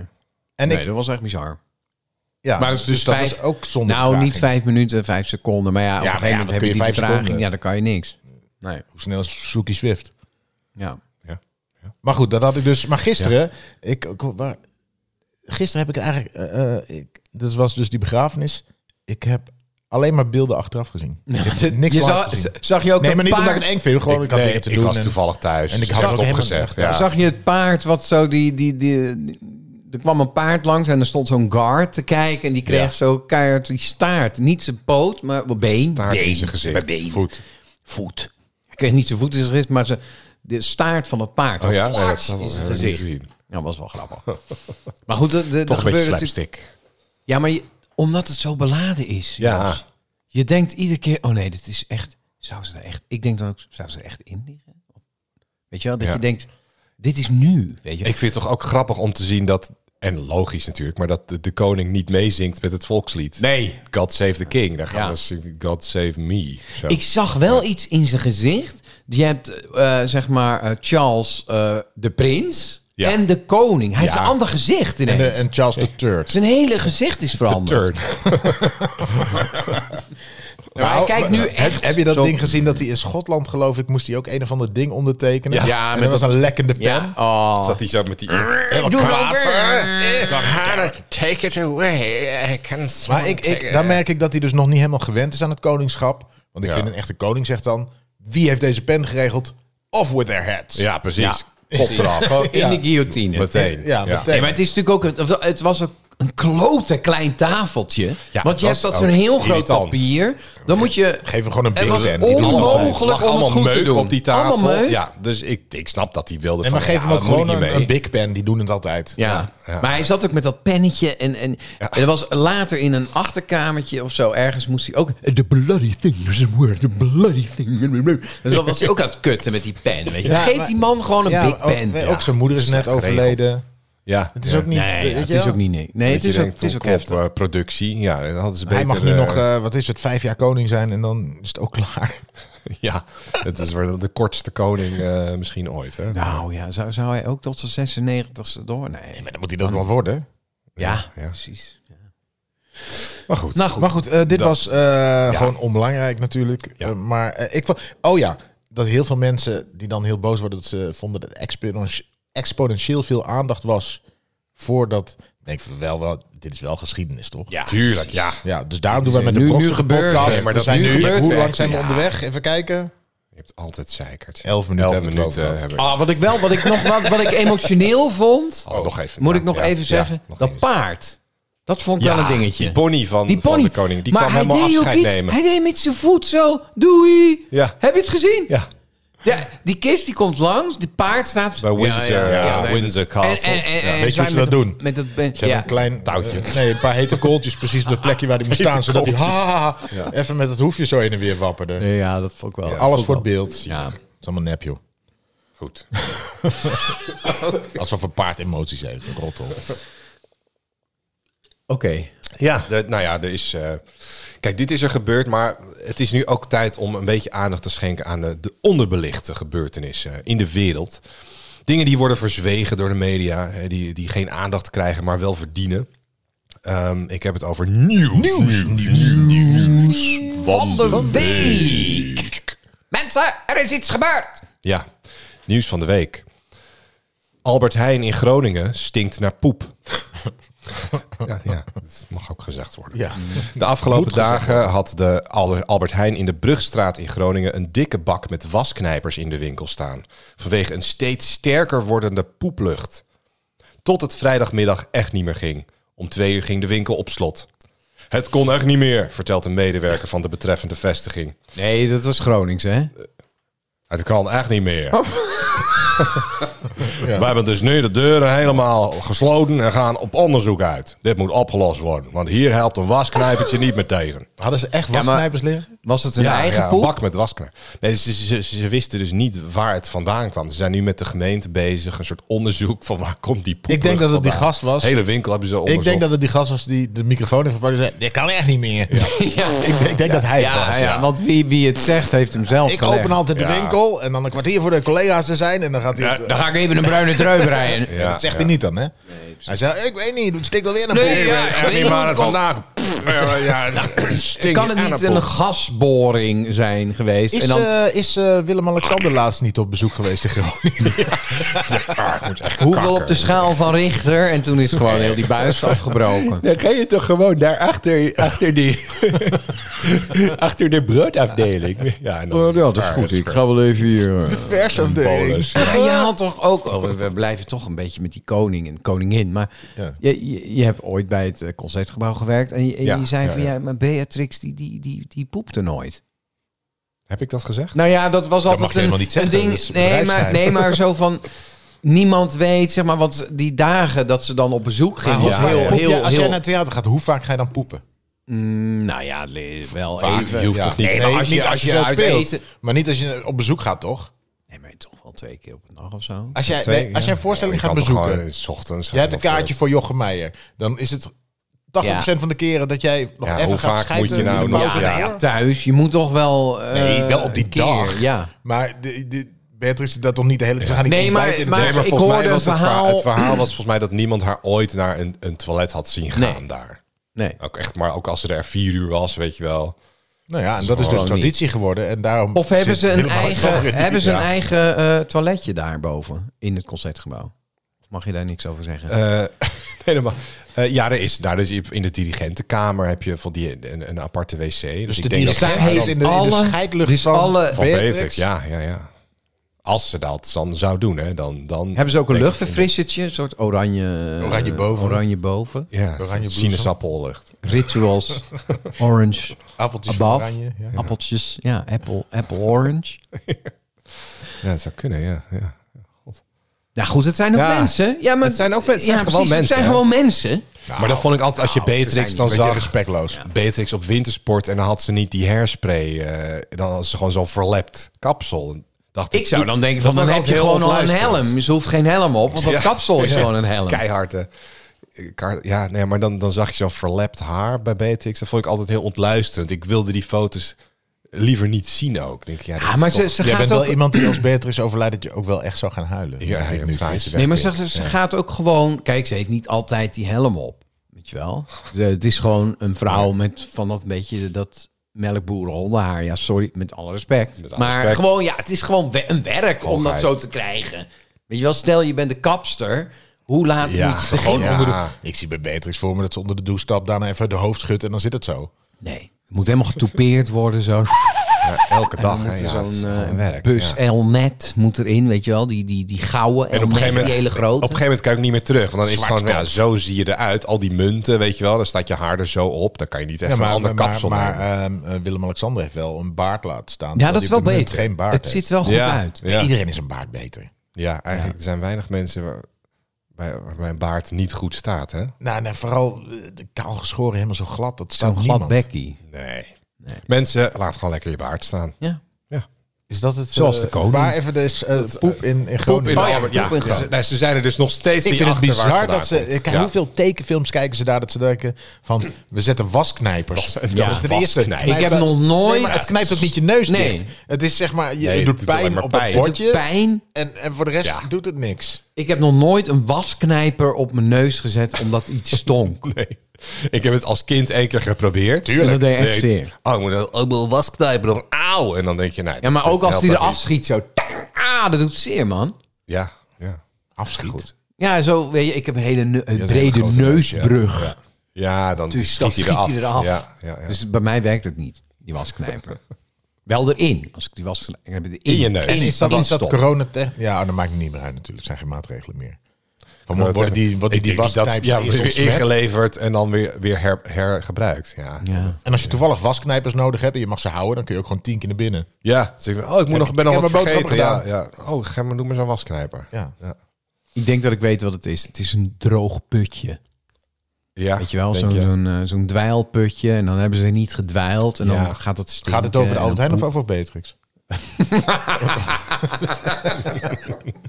Speaker 3: En
Speaker 4: nee,
Speaker 3: ik,
Speaker 4: dat was echt bizar.
Speaker 3: ja,
Speaker 4: Maar dat is dus
Speaker 3: dat
Speaker 4: vijf-
Speaker 3: was ook zonder
Speaker 4: Nou,
Speaker 3: vertraging.
Speaker 4: niet vijf minuten, vijf seconden. Maar ja,
Speaker 3: Ja,
Speaker 4: op een
Speaker 3: maar
Speaker 4: gegeven
Speaker 3: ja,
Speaker 4: moment
Speaker 3: dat
Speaker 4: heb je
Speaker 3: kun
Speaker 4: die
Speaker 3: je vijf
Speaker 4: vertraging.
Speaker 3: seconden.
Speaker 4: Ja, dan kan je niks. Nee,
Speaker 3: Hoe snel is Suzuki Swift?
Speaker 4: ja.
Speaker 3: Maar goed, dat had ik dus. Maar gisteren, ik, ik- waar, gisteren heb ik eigenlijk, eh, eh, ik, dat was dus die begrafenis. Ik heb alleen maar beelden achteraf gezien. Ik heb niks
Speaker 4: je
Speaker 3: live
Speaker 4: zag,
Speaker 3: gezien.
Speaker 4: zag je ook
Speaker 3: Nee,
Speaker 4: een
Speaker 3: maar niet omdat
Speaker 4: paard,
Speaker 3: ik het eng vind. Gewoon, ik, had
Speaker 2: nee,
Speaker 3: dingen te
Speaker 2: ik
Speaker 3: doen.
Speaker 2: was
Speaker 3: en-
Speaker 2: toevallig thuis.
Speaker 3: en ik
Speaker 2: dus
Speaker 3: had
Speaker 2: ik
Speaker 3: ook
Speaker 2: had
Speaker 3: helemaal
Speaker 2: opgezegd.
Speaker 3: niet echt-
Speaker 2: Ja.
Speaker 4: zag je het paard wat zo die, die, die, die- Er kwam een paard langs en er stond zo'n guard te kijken... en die kreeg
Speaker 2: Ja.
Speaker 4: zo keihard die staart. Niet zijn poot, maar wel been.
Speaker 2: Staart in
Speaker 4: Been.
Speaker 2: zijn gezicht.
Speaker 4: Maar been.
Speaker 2: Voet.
Speaker 4: Voet. Hij kreeg niet zijn voet in zijn gezicht, maar zijn, de staart van het paard.
Speaker 2: Oh ja,
Speaker 4: Vlak
Speaker 2: nee, dat zat
Speaker 4: in
Speaker 2: dat
Speaker 4: zijn
Speaker 2: heb ik niet
Speaker 4: gezicht.
Speaker 2: gezien.
Speaker 4: Ja, dat was wel grappig. maar goed, de, de,
Speaker 2: Toch een beetje
Speaker 4: gebeurde natuurlijk...
Speaker 2: slapstick.
Speaker 4: Ja, maar je- omdat het zo beladen is.
Speaker 2: Ja.
Speaker 4: Jos. Je denkt iedere keer, oh nee, dit is echt... Zou ze er echt... Ik denk dan ook, zou ze er echt in liggen? Weet je wel, dat
Speaker 2: Ja.
Speaker 4: je denkt... Dit is nu, weet je.
Speaker 2: Ik vind het toch ook grappig om te zien dat, en logisch natuurlijk, maar dat de, de koning niet meezingt met het volkslied.
Speaker 4: nee.
Speaker 2: God save the king. Dan gaan
Speaker 4: Ja.
Speaker 2: we zingen God save me. Zo.
Speaker 4: Ik zag wel iets in zijn gezicht. Je hebt, eh, zeg maar, eh, Charles eh, de prins
Speaker 2: Ja.
Speaker 4: en de koning. Hij heeft
Speaker 2: Ja.
Speaker 4: een ander gezicht
Speaker 3: En,
Speaker 4: ineens.
Speaker 3: de- en Charles III.
Speaker 4: Zijn hele gezicht is veranderd.
Speaker 2: turn.
Speaker 4: Maar hij kijkt nu echt...
Speaker 3: Nou, Heb, heb je dat
Speaker 4: zo-
Speaker 3: ding gezien dat hij in Schotland, geloof ik, moest hij ook een of ander ding ondertekenen?
Speaker 2: Ja.
Speaker 4: Ja,
Speaker 3: en
Speaker 4: met
Speaker 3: dat was een lekkende pen.
Speaker 4: Ja. Oh.
Speaker 2: Zat hij zo met die...
Speaker 4: Doe het over.
Speaker 2: Take it away. I can
Speaker 3: Maar ik, ik, daar merk ik dat hij dus nog niet helemaal gewend is aan het koningschap. Want ik
Speaker 2: Ja.
Speaker 3: vind een echte koning zegt dan... Wie heeft deze pen geregeld? Off with their heads.
Speaker 2: Ja, precies.
Speaker 4: Ja.
Speaker 2: Kop eraf.
Speaker 4: Gewoon in
Speaker 3: Ja.
Speaker 4: de guillotine.
Speaker 2: Meteen.
Speaker 3: Ja, meteen.
Speaker 4: Ah, Nee, maar het is natuurlijk ook... een- Het was ook een klote klein tafeltje. want
Speaker 2: dat
Speaker 4: je hebt dat
Speaker 2: is
Speaker 4: zo'n
Speaker 2: ook
Speaker 4: heel groot
Speaker 2: irritant.
Speaker 4: papier. Dan moet je...
Speaker 3: Geef hem gewoon een
Speaker 4: Het was
Speaker 3: billen.
Speaker 4: onmogelijk.
Speaker 2: Het lag
Speaker 4: om het
Speaker 2: allemaal
Speaker 4: goed te
Speaker 2: meuk
Speaker 4: doen.
Speaker 2: op die tafel.
Speaker 4: Allemaal meuk.
Speaker 2: Ja, dus ik, ik snap dat hij wilde
Speaker 3: En
Speaker 2: van...
Speaker 3: maar geef
Speaker 2: ja,
Speaker 3: hem ook
Speaker 2: dat moet ik
Speaker 3: gewoon
Speaker 2: niet
Speaker 3: een,
Speaker 2: mee.
Speaker 3: een big pen. Die doen het altijd.
Speaker 4: Ja. maar hij zat ook met dat pennetje. En, en er was later in een achterkamertje of zo, ergens moest hij ook. The bloody thing is a word, the bloody thing. Dus dan was hij ook aan het kutten met die pen. Weet je.
Speaker 3: Ja,
Speaker 4: Geef
Speaker 3: maar-
Speaker 4: die man gewoon een
Speaker 3: Ja,
Speaker 4: big
Speaker 3: ook,
Speaker 4: pen.
Speaker 3: nee, ook zijn moeder is net
Speaker 2: Slecht geregeld.
Speaker 3: overleden.
Speaker 2: Ja.
Speaker 3: Het is
Speaker 2: ja.
Speaker 3: ook niet...
Speaker 4: Nee,
Speaker 3: weet
Speaker 4: ja,
Speaker 3: je
Speaker 4: het is
Speaker 3: wel?
Speaker 4: ook niet. Nee, nee het
Speaker 2: Dat
Speaker 4: is
Speaker 2: je
Speaker 4: ook,
Speaker 2: denkt,
Speaker 4: het is ook
Speaker 2: kom op,
Speaker 4: heftig.
Speaker 2: eh, productie. Ja, dan hadden ze beter...
Speaker 3: Hij mag nu
Speaker 2: eh,
Speaker 3: nog, eh, wat is het, vijf jaar koning zijn en dan is het ook klaar.
Speaker 2: Ja, het is wel de kortste koning eh, misschien ooit. Hè?
Speaker 4: Nou ja, zou, zou hij ook tot zijn 96ste door? Nee.
Speaker 3: dan moet hij dat wel worden.
Speaker 4: Ja,
Speaker 2: Ja.
Speaker 4: precies.
Speaker 2: Maar Ah, goed.
Speaker 4: Nou goed.
Speaker 3: Maar goed, eh, dit
Speaker 2: Dat-
Speaker 3: was eh, gewoon onbelangrijk natuurlijk.
Speaker 2: Ja.
Speaker 3: Eh, maar eh, ik vond... Oh ja, dat heel veel mensen die dan heel boos worden... dat ze vonden dat exponentie- exponentieel veel aandacht was... voor dat... Ik Denk van wel, wel, dit is wel geschiedenis, toch?
Speaker 4: Ja.
Speaker 2: Tuurlijk, ja.
Speaker 3: Ja, dus daarom doen wij
Speaker 4: is
Speaker 3: met de
Speaker 4: nu- nu
Speaker 3: Brokstukken
Speaker 4: gebeurd.
Speaker 3: podcast.
Speaker 4: Nee,
Speaker 2: maar
Speaker 3: We
Speaker 2: dat
Speaker 3: zijn
Speaker 2: is nu
Speaker 3: nu,
Speaker 2: gebeurd.
Speaker 3: hoe lang zijn we
Speaker 2: Ja.
Speaker 3: onderweg? Even kijken.
Speaker 2: Je hebt altijd zeikert.
Speaker 3: Elf minuten
Speaker 2: Elf
Speaker 3: hebben we het
Speaker 2: minuten eh,
Speaker 3: over gehad.
Speaker 2: hebben we.
Speaker 4: Ah, wat ik wel, wat ik nog wat, wat ik emotioneel vond,
Speaker 2: Oh, nog even.
Speaker 4: moet
Speaker 2: Ja,
Speaker 4: ik nog
Speaker 2: ja,
Speaker 4: even
Speaker 2: ja,
Speaker 4: zeggen,
Speaker 2: nog
Speaker 4: dat
Speaker 2: even.
Speaker 4: paard. Dat vond ik wel een dingetje.
Speaker 2: Die Bonnie van,
Speaker 4: Die
Speaker 2: van
Speaker 4: pony.
Speaker 2: de koning, die
Speaker 4: maar
Speaker 2: kwam
Speaker 4: hij
Speaker 2: helemaal
Speaker 4: deed ook
Speaker 2: afscheid
Speaker 4: iets.
Speaker 2: nemen.
Speaker 4: Hij deed met zijn voet zo. Doei.
Speaker 2: Ja.
Speaker 4: Heb je het gezien?
Speaker 2: Ja,
Speaker 4: Ja, die kist die komt langs. Die paard staat...
Speaker 2: bij Windsor, ja,
Speaker 4: nee.
Speaker 2: Windsor Castle.
Speaker 4: En- en- en- en
Speaker 2: ja.
Speaker 3: Weet je hoe ze
Speaker 4: zij
Speaker 3: dat
Speaker 4: met
Speaker 3: doen?
Speaker 4: de- Met dat ben-
Speaker 3: Ze hebben
Speaker 4: ja.
Speaker 3: een klein
Speaker 2: touwtje.
Speaker 3: eh, nee, een paar hete kooltjes precies op het plekje waar die moest
Speaker 2: Hete
Speaker 3: staan. Zodat hij
Speaker 2: kooltjes.
Speaker 3: ha, ha, ha, even met het hoefje zo heen en weer wapperde.
Speaker 4: ja, dat vond ik wel.
Speaker 3: Alles voor het beeld.
Speaker 4: Ja.
Speaker 3: Het is allemaal nep, joh.
Speaker 2: Goed.
Speaker 3: Alsof een paard emoties heeft. Een rottel.
Speaker 4: Oké.
Speaker 2: Ja, de- nou ja, er is. eh, kijk, dit is er gebeurd, maar het is nu ook tijd om een beetje aandacht te schenken aan de, de onderbelichte gebeurtenissen eh, in de wereld. Dingen die worden verzwegen door de media, hè, die, die geen aandacht krijgen, maar wel verdienen. Ehm, ik heb het over nieuws. Nieuws.
Speaker 4: Van de week. Mensen, er is iets gebeurd.
Speaker 2: Ja, nieuws van de week. Albert Heijn in Groningen stinkt naar poep. ja, ja, dat mag ook gezegd worden.
Speaker 3: Ja.
Speaker 2: De afgelopen dagen had de Albe- Albert Heijn in de Brugstraat in Groningen een dikke bak met wasknijpers in de winkel staan. Vanwege een steeds sterker wordende poeplucht. Tot het vrijdagmiddag echt niet meer ging. Om twee uur ging de winkel op slot. Het kon echt niet meer, vertelt een medewerker van de betreffende vestiging.
Speaker 4: Nee, dat was Gronings, hè?
Speaker 2: Het kan echt niet meer. We hebben dus nu de deuren helemaal gesloten en gaan op onderzoek uit. Dit moet opgelost worden, want hier helpt een wasknijpertje niet meer tegen.
Speaker 3: Hadden ze echt wasknijpers liggen?
Speaker 4: Was het een eigen
Speaker 2: een
Speaker 4: poep?
Speaker 2: bak met wasknijper. Nee, ze, ze, ze- ze wisten dus niet waar het vandaan kwam. Ze zijn nu met de gemeente bezig, een soort onderzoek van waar komt die poep
Speaker 3: Ik denk dat het die gast was.
Speaker 2: De hele winkel hebben ze onderzocht.
Speaker 3: Ik denk dat het die gast was die de microfoon heeft verpakt. en zei, Dit kan echt niet meer.
Speaker 4: Ja.
Speaker 3: Ik denk dat hij het
Speaker 4: Ja,
Speaker 3: was.
Speaker 4: ja, want wie, wie het zegt, heeft hem zelf
Speaker 3: Ik
Speaker 4: gelegd.
Speaker 3: open altijd de
Speaker 2: Ja.
Speaker 3: winkel en dan een kwartier voor de collega's te zijn. En dan gaat hij... eh,
Speaker 4: Ja, Dan ga ik even een bruine trui breien.
Speaker 2: Ja,
Speaker 3: dat zegt
Speaker 2: ja.
Speaker 3: hij niet dan, hè? hij zei, ik weet niet, het stikt alweer naar
Speaker 4: Nee,
Speaker 3: boven."
Speaker 4: ja.
Speaker 2: Ik weet echt niet waar het vandaan ja, stinkt
Speaker 4: Kan het niet
Speaker 2: aardappel.
Speaker 4: een gasboring zijn geweest?
Speaker 3: Is,
Speaker 4: en dan,
Speaker 3: eh, is eh, Willem-Alexander laatst niet op bezoek geweest in Groningen?
Speaker 2: Ah, het moet echt
Speaker 4: Hoeveel
Speaker 2: kakker.
Speaker 4: op de schaal van Richter? En toen is gewoon heel die buis afgebroken.
Speaker 2: Dan ga je toch gewoon daar achter, achter, die, achter de broodafdeling. Ja, en dan-
Speaker 4: Oh, wel even hier... eh,
Speaker 3: Vers of de
Speaker 2: Bolus.
Speaker 4: Maar je had toch ook... Oh, we- we blijven toch een beetje met die koning en koningin. Maar
Speaker 2: Ja.
Speaker 4: je, je, je hebt ooit bij het eh, concertgebouw gewerkt. En je, en
Speaker 2: Ja,
Speaker 4: je zei
Speaker 2: ja,
Speaker 4: van...
Speaker 2: ja.
Speaker 4: Ja, maar Beatrix, die, die, die, die poepte nooit.
Speaker 2: Heb ik dat gezegd?
Speaker 4: Nou ja, dat was altijd
Speaker 3: mag je
Speaker 4: een,
Speaker 3: helemaal niet zeggen,
Speaker 4: een ding.
Speaker 3: dat is
Speaker 4: nee, maar,
Speaker 3: bedrijfsgeheim.
Speaker 4: nee, maar zo van. Niemand weet, zeg maar, wat ze- die dagen dat ze dan op bezoek gingen.
Speaker 3: Hoe
Speaker 4: was
Speaker 3: vaak
Speaker 4: heel,
Speaker 3: poep
Speaker 4: heel,
Speaker 3: jij- als
Speaker 4: heel-
Speaker 3: jij naar het theater gaat, hoe vaak ga je dan poepen?
Speaker 4: Mm, nou ja, le- wel
Speaker 2: Vaak,
Speaker 4: even.
Speaker 2: je hoeft
Speaker 3: Ja.
Speaker 2: toch niet...
Speaker 4: Nee, maar als je- als je
Speaker 3: zelf
Speaker 4: uit
Speaker 3: speelt.
Speaker 4: eten-
Speaker 3: Maar niet als je op bezoek gaat, toch?
Speaker 4: Nee, maar toch wel twee keer op een dag of zo.
Speaker 3: Als jij,
Speaker 2: Twee,
Speaker 3: nee, als
Speaker 2: ja.
Speaker 3: jij een voorstelling
Speaker 2: Ja, je
Speaker 3: gaat
Speaker 2: kan toch
Speaker 3: bezoeken,
Speaker 2: gewoon in s ochtends.
Speaker 3: jij hebt een
Speaker 2: of, eh,
Speaker 3: kaartje voor Jochem Meijer, dan is het 80% van de keren dat jij nog
Speaker 2: Ja,
Speaker 3: even
Speaker 2: hoe
Speaker 3: gaat
Speaker 2: vaak
Speaker 3: schijten
Speaker 2: moet je
Speaker 3: in
Speaker 2: nou
Speaker 3: de
Speaker 2: nog-
Speaker 3: pauze
Speaker 2: ja.
Speaker 3: daarvoor.
Speaker 4: Thuis, je moet toch wel... eh,
Speaker 3: Nee, wel op die
Speaker 4: een keer,
Speaker 3: dag.
Speaker 4: Ja.
Speaker 3: Maar de, de, Beatrice dat toch niet de hele tijd. Ze gaan niet
Speaker 4: Nee, maar-
Speaker 3: ontbijten in de
Speaker 4: maar-
Speaker 3: bed.
Speaker 2: Nee, maar
Speaker 4: ik
Speaker 2: volgens mij
Speaker 4: hoorde
Speaker 2: was
Speaker 4: een
Speaker 2: het verhaal...
Speaker 4: verhaal-
Speaker 2: Het verhaal was volgens mij dat niemand haar ooit naar een, een toilet had zien gaan
Speaker 4: Nee.
Speaker 2: daar.
Speaker 4: Nee.
Speaker 3: Oh,
Speaker 2: Ook echt, maar ook als ze er vier uur was, weet je wel.
Speaker 3: Nou ja, en dat is dus
Speaker 4: gewoon niet.
Speaker 3: traditie geworden. En daarom
Speaker 4: Of hebben
Speaker 3: zit
Speaker 4: ze een
Speaker 3: helemaal het grappige
Speaker 4: eigen,
Speaker 3: in.
Speaker 4: hebben ze een
Speaker 3: Ja.
Speaker 4: eigen eh, toiletje daarboven in het concertgebouw? Of mag je daar niks over zeggen?
Speaker 2: Eh, nee, maar, eh, ja, er is, daar is in de dirigentenkamer heb je van die, een, een aparte wc. Dus,
Speaker 3: Dus
Speaker 2: ik
Speaker 3: de
Speaker 2: denk dat-
Speaker 4: zij
Speaker 3: dirigent
Speaker 4: heeft
Speaker 3: heeft in de, in de
Speaker 4: alle-
Speaker 3: scheidlucht
Speaker 4: dus
Speaker 3: van,
Speaker 4: alle-
Speaker 2: Van
Speaker 3: Beatrix.
Speaker 2: Beatrix, ja, ja, ja. Als ze dat dan zou doen, hè, dan... dan
Speaker 4: Hebben ze ook een
Speaker 2: denk ik-
Speaker 4: luchtverfrissertje? Een soort oranje... eh,
Speaker 3: Oranje boven.
Speaker 4: Oranje boven.
Speaker 2: Ja,
Speaker 3: Oranje bloesem.
Speaker 2: sinaasappellucht.
Speaker 4: Rituals. Orange.
Speaker 3: Appeltjes van
Speaker 4: Above.
Speaker 3: oranje. Ja.
Speaker 4: Appeltjes. Ja, apple, apple orange.
Speaker 2: Ja, dat zou kunnen, ja. ja.
Speaker 4: Nou goed, het zijn ook
Speaker 2: Ja.
Speaker 4: mensen. Ja, maar
Speaker 2: Het zijn ook mensen, het zijn gewoon
Speaker 4: precies,
Speaker 2: mensen,
Speaker 4: Het
Speaker 2: hè?
Speaker 4: zijn gewoon mensen.
Speaker 2: maar dat vond ik altijd, als je
Speaker 4: nou, ze
Speaker 2: Beatrix
Speaker 4: zijn
Speaker 2: dan
Speaker 4: een
Speaker 3: Beetje
Speaker 2: zag...
Speaker 3: respectloos.
Speaker 2: Beatrix op wintersport en dan had ze niet die hairspray. eh, dan had ze gewoon zo'n verlept kapsel. En Dacht
Speaker 4: Ik zou
Speaker 2: toen-
Speaker 4: dan denken,
Speaker 2: dat
Speaker 4: van, dan
Speaker 2: vond ik
Speaker 4: heb je
Speaker 2: altijd heel
Speaker 4: gewoon al een
Speaker 2: ontluisterend.
Speaker 4: helm. Ze hoeft geen helm op, want dat
Speaker 2: Ja.
Speaker 4: kapsel is gewoon een helm.
Speaker 2: Keihard, hè. Ka- Ja, nee, maar dan, dan zag je zo'n verlept haar bij Beatrix. Dat vond ik altijd heel ontluisterend. Ik wilde die foto's liever niet zien ook. Ik Denk, ja, dat
Speaker 4: Ja,
Speaker 2: is
Speaker 4: maar
Speaker 2: toch-
Speaker 4: ze, ze
Speaker 3: Jij
Speaker 4: gaat
Speaker 3: bent
Speaker 4: ook...
Speaker 3: wel iemand die als Beatrice overlijdt... dat je ook wel echt zou gaan huilen.
Speaker 2: Ja,
Speaker 3: denk ik
Speaker 2: een
Speaker 3: nu.
Speaker 2: traantje weg.
Speaker 4: Nee, maar ze, ze gaat ook gewoon... Kijk, ze heeft niet altijd die helm op. Weet je wel? Ze- het is gewoon een vrouw met van dat beetje dat melkboerenhondenhaar. Ja, sorry, met alle respect.
Speaker 2: Met alle
Speaker 4: maar
Speaker 2: respect.
Speaker 4: gewoon, ja, het is gewoon we- een werk om dat
Speaker 2: Hoogheid.
Speaker 4: zo te krijgen. Weet je wel, stel je bent de kapster. Hoe laat
Speaker 2: Ja,
Speaker 4: moet je
Speaker 2: gewoon
Speaker 4: beginnen?
Speaker 2: Ja.
Speaker 3: Onder de- Ik zie bij Beatrix voor me dat ze onder de douche stapt... daarna even de hoofd schudt en dan zit het zo.
Speaker 4: Nee, het moet helemaal getoupeerd worden zo.
Speaker 2: Ja, elke
Speaker 4: En dan
Speaker 2: dag.
Speaker 4: moet
Speaker 2: hè,
Speaker 4: er
Speaker 2: ja, het is
Speaker 4: zo'n
Speaker 2: gewoon
Speaker 4: eh,
Speaker 2: werk,
Speaker 4: bus
Speaker 2: ja.
Speaker 4: Elnet moet erin, weet je wel, die, die, die
Speaker 2: En
Speaker 4: gouden
Speaker 2: op een,
Speaker 4: Elnet,
Speaker 2: gegeven moment,
Speaker 4: die hele
Speaker 2: op
Speaker 4: grote.
Speaker 2: een gegeven moment kan ik niet meer terug. Want dan is het gewoon, ja,
Speaker 3: Zwartkop.
Speaker 2: zo zie je eruit. Al die munten, weet je wel. Dan staat je haar er zo op. Dan kan je niet even een ander kapsel
Speaker 3: maar,
Speaker 2: nemen.
Speaker 3: ehm, eh, Willem-Alexander heeft wel een baard laten staan.
Speaker 4: ja,
Speaker 3: terwijl
Speaker 4: dat is
Speaker 3: die
Speaker 4: wel
Speaker 3: op dit moment
Speaker 4: beter.
Speaker 3: geen baard
Speaker 4: het
Speaker 3: heeft.
Speaker 4: ziet wel goed
Speaker 2: ja,
Speaker 4: uit.
Speaker 2: Ja,
Speaker 3: Iedereen is een baard beter.
Speaker 2: ja, eigenlijk er zijn weinig mensen waar, bij, waarbij een baard niet goed staat, hè?
Speaker 3: Nou, nee, vooral eh, de kaal geschoren, helemaal zo glad. Dat staat
Speaker 4: Zo'n glad
Speaker 3: niemand.
Speaker 4: bekkie.
Speaker 2: Nee. Mensen, laat gewoon lekker je baard staan.
Speaker 4: Ja.
Speaker 3: Is dat het?
Speaker 4: Zoals
Speaker 3: eh,
Speaker 4: de koning.
Speaker 3: Maar even dus eh, poep in, in
Speaker 2: Poep in
Speaker 3: Groningen.
Speaker 2: de
Speaker 4: Oh ja,
Speaker 2: Albert-
Speaker 4: poep
Speaker 2: ja,
Speaker 4: in
Speaker 2: ze,
Speaker 4: Groningen.
Speaker 2: nee, ze zijn er dus nog steeds
Speaker 3: ik
Speaker 2: niet
Speaker 3: vind het
Speaker 2: achter waar
Speaker 3: bizar
Speaker 2: vandaan
Speaker 3: dat ze...
Speaker 2: komt.
Speaker 3: Kijk,
Speaker 2: Ja.
Speaker 3: hoeveel tekenfilms kijken ze daar dat ze denken van... We zetten wasknijpers.
Speaker 2: Dat is-
Speaker 3: Ja,
Speaker 2: dat
Speaker 3: dat is
Speaker 2: is
Speaker 3: de eerste.
Speaker 2: wasknijpen.
Speaker 3: Knijpt
Speaker 4: Ik heb
Speaker 3: dat-
Speaker 4: nog nooit-
Speaker 3: Nee, maar het knijpt ook niet je neus
Speaker 4: Nee.
Speaker 3: dicht. Het is zeg maar... Je
Speaker 2: Nee,
Speaker 3: doet
Speaker 2: het doet alleen
Speaker 3: pijn
Speaker 2: maar
Speaker 3: op het
Speaker 2: pijn. Het
Speaker 4: Het doet
Speaker 3: bordje.
Speaker 4: pijn.
Speaker 3: En, en voor de rest
Speaker 2: Ja.
Speaker 3: doet het niks.
Speaker 4: Ik heb nog nooit een wasknijper op mijn neus gezet omdat iets stonk.
Speaker 2: Nee. Ik heb het als kind één keer geprobeerd.
Speaker 4: En dat deed echt
Speaker 2: Nee,
Speaker 4: zeer.
Speaker 2: Oh, ik moet een- ik moet een wasknijper dan auw. En dan denk je, nee.
Speaker 4: Ja,
Speaker 2: dat-
Speaker 4: maar
Speaker 2: dat
Speaker 4: ook als
Speaker 2: helpt
Speaker 4: die
Speaker 2: ook
Speaker 4: eraf
Speaker 2: niet.
Speaker 4: schiet zo. tang, Ah, dat doet zeer, man.
Speaker 2: Ja, ja.
Speaker 3: Afschiet.
Speaker 4: Ja, zo, weet je, ik heb een hele ne- een brede
Speaker 3: grote
Speaker 4: neusbrug.
Speaker 2: Ja, dan
Speaker 4: Dus
Speaker 2: schiet
Speaker 4: dan
Speaker 2: hij
Speaker 4: schiet
Speaker 2: eraf.
Speaker 4: hij eraf.
Speaker 2: Ja, ja, ja.
Speaker 4: Dus bij mij werkt het niet, die wasknijper. Wel erin. Als ik die wasknijper...
Speaker 2: In je neus.
Speaker 4: In,
Speaker 3: En is dat,
Speaker 4: in
Speaker 3: is dat
Speaker 4: stop.
Speaker 3: coronatech? Ja, oh, dat maakt me niet meer uit natuurlijk. Er zijn geen maatregelen meer. Van
Speaker 2: Maar
Speaker 3: worden die, worden
Speaker 2: ik
Speaker 3: die
Speaker 2: denk dat-
Speaker 3: wasknijpers
Speaker 2: ja,
Speaker 3: eerst
Speaker 2: weer
Speaker 3: ontsmet?
Speaker 2: ingeleverd en dan weer, weer her, hergebruikt. Ja,
Speaker 4: Ja.
Speaker 3: En als je toevallig wasknijpers nodig hebt en je mag ze houden... dan kun je ook gewoon tien keer naar binnen.
Speaker 2: ja dus ik, oh, ik moet nog, ben
Speaker 3: ik
Speaker 2: nog wat
Speaker 3: heb mijn boodschappen
Speaker 2: vergeten. Ja, ja. Oh, ga maar, doe maar zo'n wasknijper.
Speaker 3: Ja.
Speaker 4: Ik denk dat ik weet wat het is. Het is een droog putje.
Speaker 2: Ja,
Speaker 4: Weet je wel,
Speaker 2: denk
Speaker 4: zo'n
Speaker 2: je.
Speaker 4: zo'n, eh, zo'n dwijlputje. En dan hebben ze niet gedwijld. En
Speaker 2: Ja.
Speaker 4: dan gaat het stinken.
Speaker 3: Gaat het over de
Speaker 4: en
Speaker 3: Albert
Speaker 4: dan
Speaker 3: Heijn of over Beatrix?
Speaker 4: poep-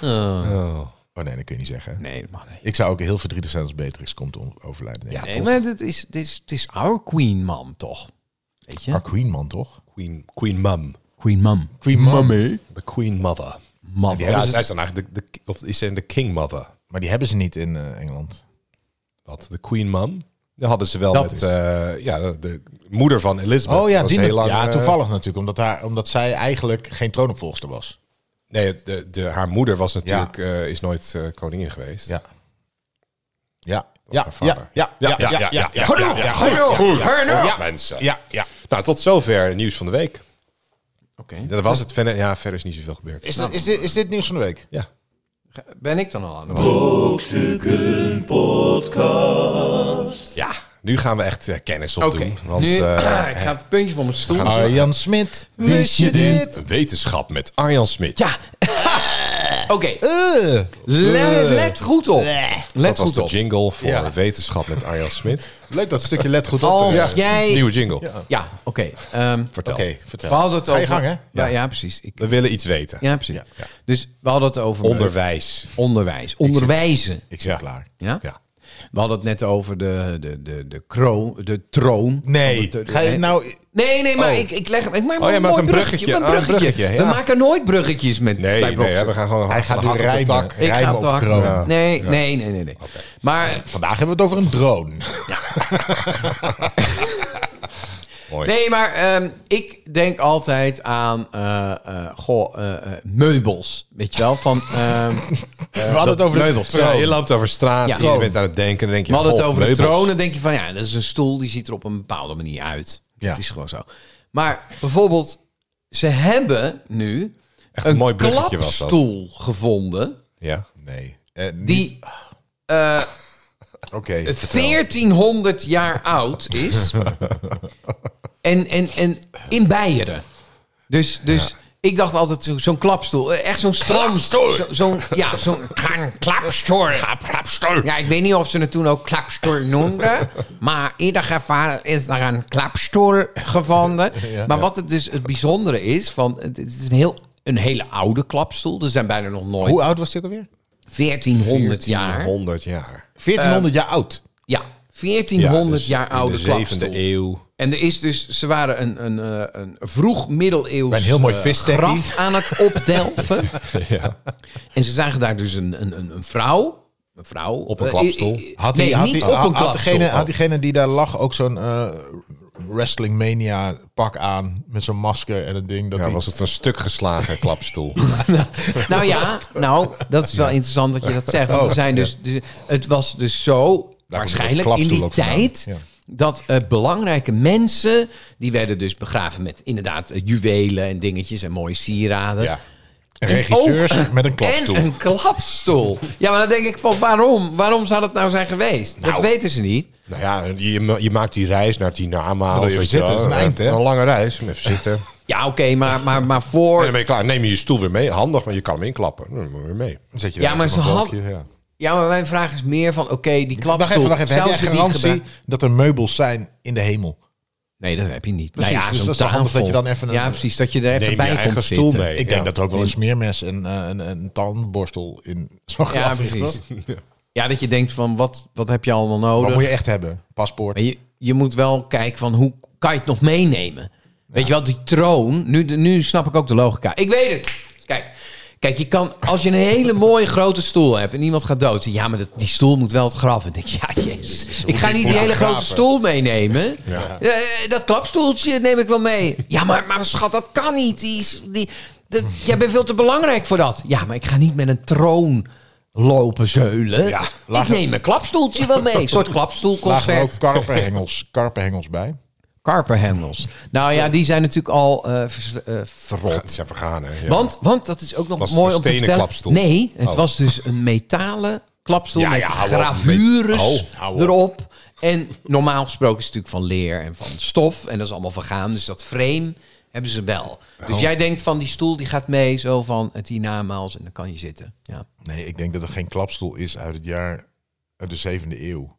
Speaker 4: Eh,
Speaker 2: Oh.
Speaker 3: Oh nee, dat kun je niet zeggen.
Speaker 4: Nee, dat mag niet.
Speaker 3: Ik zou ook heel verdrietig zijn als Beatrix komt om overlijden. Nee.
Speaker 2: Ja,
Speaker 4: Nee,
Speaker 2: toch.
Speaker 4: maar het is, het, is, het is our queen, man, toch? Weet je?
Speaker 3: Maar Queen man toch?
Speaker 2: Queen, queen Mum.
Speaker 4: Queen mom.
Speaker 3: Queen Mummy.
Speaker 2: De Queen Mother.
Speaker 4: Man.
Speaker 3: Die
Speaker 2: Ja,
Speaker 3: hebben ze-
Speaker 2: zij is dan eigenlijk de, de, of is zij de King Mother?
Speaker 3: Maar die hebben ze niet in eh, Engeland.
Speaker 2: Wat? De Queen Mum? Dat hadden ze wel
Speaker 4: Dat
Speaker 2: met
Speaker 4: is-
Speaker 2: eh, ja, de, de moeder van Elizabeth. Dat was heel lang,
Speaker 3: Oh, ja,
Speaker 2: eh,
Speaker 3: toevallig natuurlijk. Omdat, haar, omdat zij eigenlijk geen troonopvolgster was.
Speaker 2: Nee, de, de, haar moeder was natuurlijk, eh, is nooit eh, koningin geweest.
Speaker 3: Ja. Ja.
Speaker 2: was
Speaker 3: Ja,
Speaker 2: haar
Speaker 3: ja,
Speaker 2: vader.
Speaker 3: ja, ja, ja, ja, ja, ja. Genoeg,
Speaker 2: ja,
Speaker 3: genoeg,
Speaker 2: genoeg,
Speaker 3: Ja.
Speaker 2: mensen.
Speaker 3: Ja, ja.
Speaker 2: Nou, tot zover nieuws van de week.
Speaker 4: Oké.
Speaker 2: Ja, Dat was het. Verder, ja, verder is niet zoveel gebeurd.
Speaker 3: Is dit, is, dit, is dit nieuws van de week?
Speaker 2: Ja.
Speaker 4: Ben ik dan al aan de hand?
Speaker 2: ja, nu gaan we echt eh, kennis
Speaker 4: Oké.
Speaker 2: opdoen. Want
Speaker 4: nu,
Speaker 2: eh,
Speaker 4: ik ga het puntje van mijn stoel
Speaker 3: Eh,
Speaker 4: zetten.
Speaker 3: Arjan Smit,
Speaker 2: Wetenschap met Arjan Smit.
Speaker 4: Ja. Oké, le- let goed op. Let
Speaker 2: Dat was
Speaker 4: goed
Speaker 2: de
Speaker 4: op.
Speaker 2: jingle voor
Speaker 3: Ja.
Speaker 2: Wetenschap met Arjan Smit.
Speaker 3: Leuk dat stukje let goed op.
Speaker 4: Als
Speaker 3: eh.
Speaker 4: jij...
Speaker 2: Nieuwe jingle.
Speaker 4: Ja, oké. ehm,
Speaker 2: Vertel.
Speaker 3: Oké,
Speaker 4: we
Speaker 3: vertel.
Speaker 4: hadden het
Speaker 3: Ga
Speaker 4: over...
Speaker 3: je gang, hè?
Speaker 4: Ja, ja, precies. Ik,
Speaker 2: We willen iets weten.
Speaker 4: ja, precies. Dus we hadden het over...
Speaker 2: Onderwijs.
Speaker 4: Onderwijs. Onderwijzen.
Speaker 3: Ik zeg klaar.
Speaker 4: Ja?
Speaker 2: Ja.
Speaker 4: We hadden het net over de, de, de, de, kroon, de troon.
Speaker 3: Nee,
Speaker 4: Van de-
Speaker 3: ga je nou...
Speaker 4: Nee, nee, maar
Speaker 2: Oh.
Speaker 4: ik, ik leg hem. Ik maak maar
Speaker 2: jij
Speaker 4: een
Speaker 2: maakt
Speaker 4: mooi
Speaker 2: een bruggetje.
Speaker 4: maar
Speaker 2: Oh, een bruggetje, ja.
Speaker 4: We maken nooit bruggetjes met
Speaker 2: Nee,
Speaker 4: bij
Speaker 2: nee,
Speaker 4: Broksen.
Speaker 2: hè, we gaan gewoon
Speaker 3: Hij gaat
Speaker 2: van de
Speaker 3: nu
Speaker 2: hak op de
Speaker 3: rijmen.
Speaker 2: tak.
Speaker 4: Ik
Speaker 3: rijmen
Speaker 4: ga
Speaker 3: op
Speaker 4: te hard-
Speaker 3: kroon.
Speaker 4: Ja. Nee, nee, nee, nee, nee. Maar
Speaker 3: Vandaag hebben we het over een drone.
Speaker 4: nee, maar ehm, ik denk altijd aan eh, eh, goh, eh, eh, meubels, weet je wel? Van ehm,
Speaker 3: we hadden het over de
Speaker 4: meubels.
Speaker 2: Eh, Ja, je loopt over straat,
Speaker 4: Ja.
Speaker 2: je bent aan het denken. Dan denk je,
Speaker 4: We hadden het
Speaker 2: goh,
Speaker 4: over de
Speaker 2: meubels.
Speaker 4: troon. Dan denk je van ja, dat is een stoel die ziet er op een bepaalde manier uit.
Speaker 3: Ja.
Speaker 4: Dat is gewoon zo. Maar bijvoorbeeld, ze hebben nu
Speaker 2: Echt een mooi bruggetje was dat.
Speaker 4: klapstoel gevonden
Speaker 2: Ja.
Speaker 3: Nee. eh, niet-
Speaker 4: die eh,
Speaker 3: Oké.
Speaker 4: 1400 jaar oud is en, en, en in Beieren. Dus, dus ik dacht altijd zo- zo'n klapstoel, eh, echt zo'n strand, zo- zo'n ja, zo'n klapstoel. Ja, ik weet niet of ze het toen ook klapstoel noemden. maar in ieder geval is er een klapstoel gevonden. maar wat het dus het bijzondere is, van, het het is een, heel, een hele oude klapstoel. Er zijn bijna nog nooit
Speaker 3: Hoe oud was die ook alweer?
Speaker 4: 1400 jaar.
Speaker 2: 100 jaar.
Speaker 3: 1400 jaar oud.
Speaker 4: Ja, 1400
Speaker 2: dus
Speaker 4: jaar oude
Speaker 2: In de 7e
Speaker 4: klapstoel.
Speaker 2: eeuw.
Speaker 4: En er is dus, ze waren een, een, eh, een vroeg middeleeuws
Speaker 3: Bij een heel mooi
Speaker 4: eh,
Speaker 3: vistekkie.
Speaker 4: graf aan het opdelven.
Speaker 2: Ja.
Speaker 4: en ze zagen daar dus een, een, een, een vrouw. Een vrouw.
Speaker 2: Op een
Speaker 4: eh,
Speaker 2: klapstoel.
Speaker 4: eh, eh,
Speaker 3: Had,
Speaker 4: nee,
Speaker 3: die, had,
Speaker 4: niet
Speaker 3: die,
Speaker 4: op een
Speaker 3: had,
Speaker 4: klapstoel.
Speaker 3: diegene, had diegene die daar lag ook zo'n eh, Wrestling Mania pak aan. Met zo'n masker en een ding. Dat
Speaker 2: Ja,
Speaker 3: die-
Speaker 2: was het een stuk geslagen klapstoel.
Speaker 4: Nou ja, nou, dat is wel interessant dat je dat zegt.
Speaker 3: Oh,
Speaker 4: Want er zijn dus, dus- het was dus zo, waarschijnlijk in
Speaker 3: klapstoel
Speaker 4: die
Speaker 3: ook vandaan.
Speaker 4: tijd...
Speaker 3: Ja.
Speaker 4: Dat eh, belangrijke mensen, die werden dus begraven met inderdaad eh, juwelen en dingetjes en mooie sieraden.
Speaker 3: Ja. Regisseurs met een klapstoel.
Speaker 4: En een klapstoel. Ja, maar dan denk ik van waarom? Waarom zou dat nou zijn geweest? dat weten ze niet.
Speaker 2: nou ja, je, ma- je maakt die reis naar Tinama.
Speaker 3: wil
Speaker 2: of
Speaker 3: je
Speaker 2: weet
Speaker 3: zitten,
Speaker 2: wel, Eh,
Speaker 3: dat is een eind, hè?
Speaker 2: Een lange reis. Even zitten. En
Speaker 4: Ja, oké, maar, maar, maar voor...
Speaker 2: dan ben je klaar. Neem je je stoel weer mee. Handig, want je kan hem inklappen. Dan moet je weer mee.
Speaker 3: Dan zet je
Speaker 4: Ja,
Speaker 3: daar
Speaker 4: maar
Speaker 3: zo'n
Speaker 4: ze had-
Speaker 3: balkje, ja.
Speaker 4: Ja, maar mijn vraag is meer van, oké, die
Speaker 3: Wacht
Speaker 4: klapstoel...
Speaker 3: even, wacht even. Heb
Speaker 4: zou
Speaker 3: jij
Speaker 4: ze die
Speaker 3: garantie
Speaker 4: gebruik-
Speaker 3: dat er meubels zijn in de hemel?
Speaker 4: Nee, dat heb je niet.
Speaker 3: Precies,
Speaker 4: nou ja,
Speaker 3: dus
Speaker 4: zo'n
Speaker 3: dat is wel handig
Speaker 4: tafel.
Speaker 3: dat je dan even een-
Speaker 4: Ja, precies, dat je er even
Speaker 2: Neem
Speaker 4: bij
Speaker 2: je
Speaker 4: komt
Speaker 2: eigen stoel
Speaker 4: zitten.
Speaker 2: mee.
Speaker 3: Ik
Speaker 2: Ja.
Speaker 3: denk dat er ook wel een smeermes en eh, een, een tandborstel in zo'n graf
Speaker 4: Ja,
Speaker 3: ligt,
Speaker 4: precies.
Speaker 3: hoor.
Speaker 4: Ja, dat je denkt van, wat, wat heb je allemaal
Speaker 3: Wat
Speaker 4: nodig?
Speaker 3: moet je echt hebben? Paspoort.
Speaker 4: Maar je, je moet wel kijken van, hoe kan je het nog meenemen? Weet je wel, die troon... Nu, nu snap ik ook de logica. Ik weet het! Kijk... Kijk, je kan, als je een hele mooie grote stoel hebt en iemand gaat dood. Ja, maar dat, die stoel moet wel het graf. En denk je, ja, jezus. Ik ga niet die hele grote stoel meenemen. Eh, eh, dat klapstoeltje neem ik wel mee. Ja, maar, maar schat, dat kan niet. Die, is- die, de- jij bent veel te belangrijk voor dat. Ja, maar ik ga niet met een troon lopen zeulen.
Speaker 2: Ja,
Speaker 4: ik neem mijn klapstoeltje wel mee. Een soort
Speaker 3: Lagen er ook
Speaker 4: klapstoelconcert.
Speaker 3: karpenhengels, karpenhengels bij?
Speaker 4: Karperhendels. Nou ja, die zijn natuurlijk al eh, vers- eh,
Speaker 2: Rot.
Speaker 4: verrot.
Speaker 2: Ze zijn vergaan, hè? Ja.
Speaker 4: Want, want dat is ook nog
Speaker 2: Was het
Speaker 4: mooi
Speaker 2: een
Speaker 4: om te
Speaker 2: stenen
Speaker 4: vertellen.
Speaker 2: klapstoel?
Speaker 4: Nee, het
Speaker 2: Oh.
Speaker 4: was dus een metalen klapstoel
Speaker 2: Ja,
Speaker 4: met
Speaker 2: ja, hou op.
Speaker 4: gravures
Speaker 2: Met- oh, hou op.
Speaker 4: erop. En normaal gesproken is het natuurlijk van leer en van stof. En dat is allemaal vergaan. Dus dat frame hebben ze wel.
Speaker 2: Oh.
Speaker 4: Dus jij denkt van die stoel die gaat mee zo van het hiernamaals en dan kan je zitten. Ja.
Speaker 3: Nee, ik denk dat er geen klapstoel is uit het jaar... uit de zevende eeuw.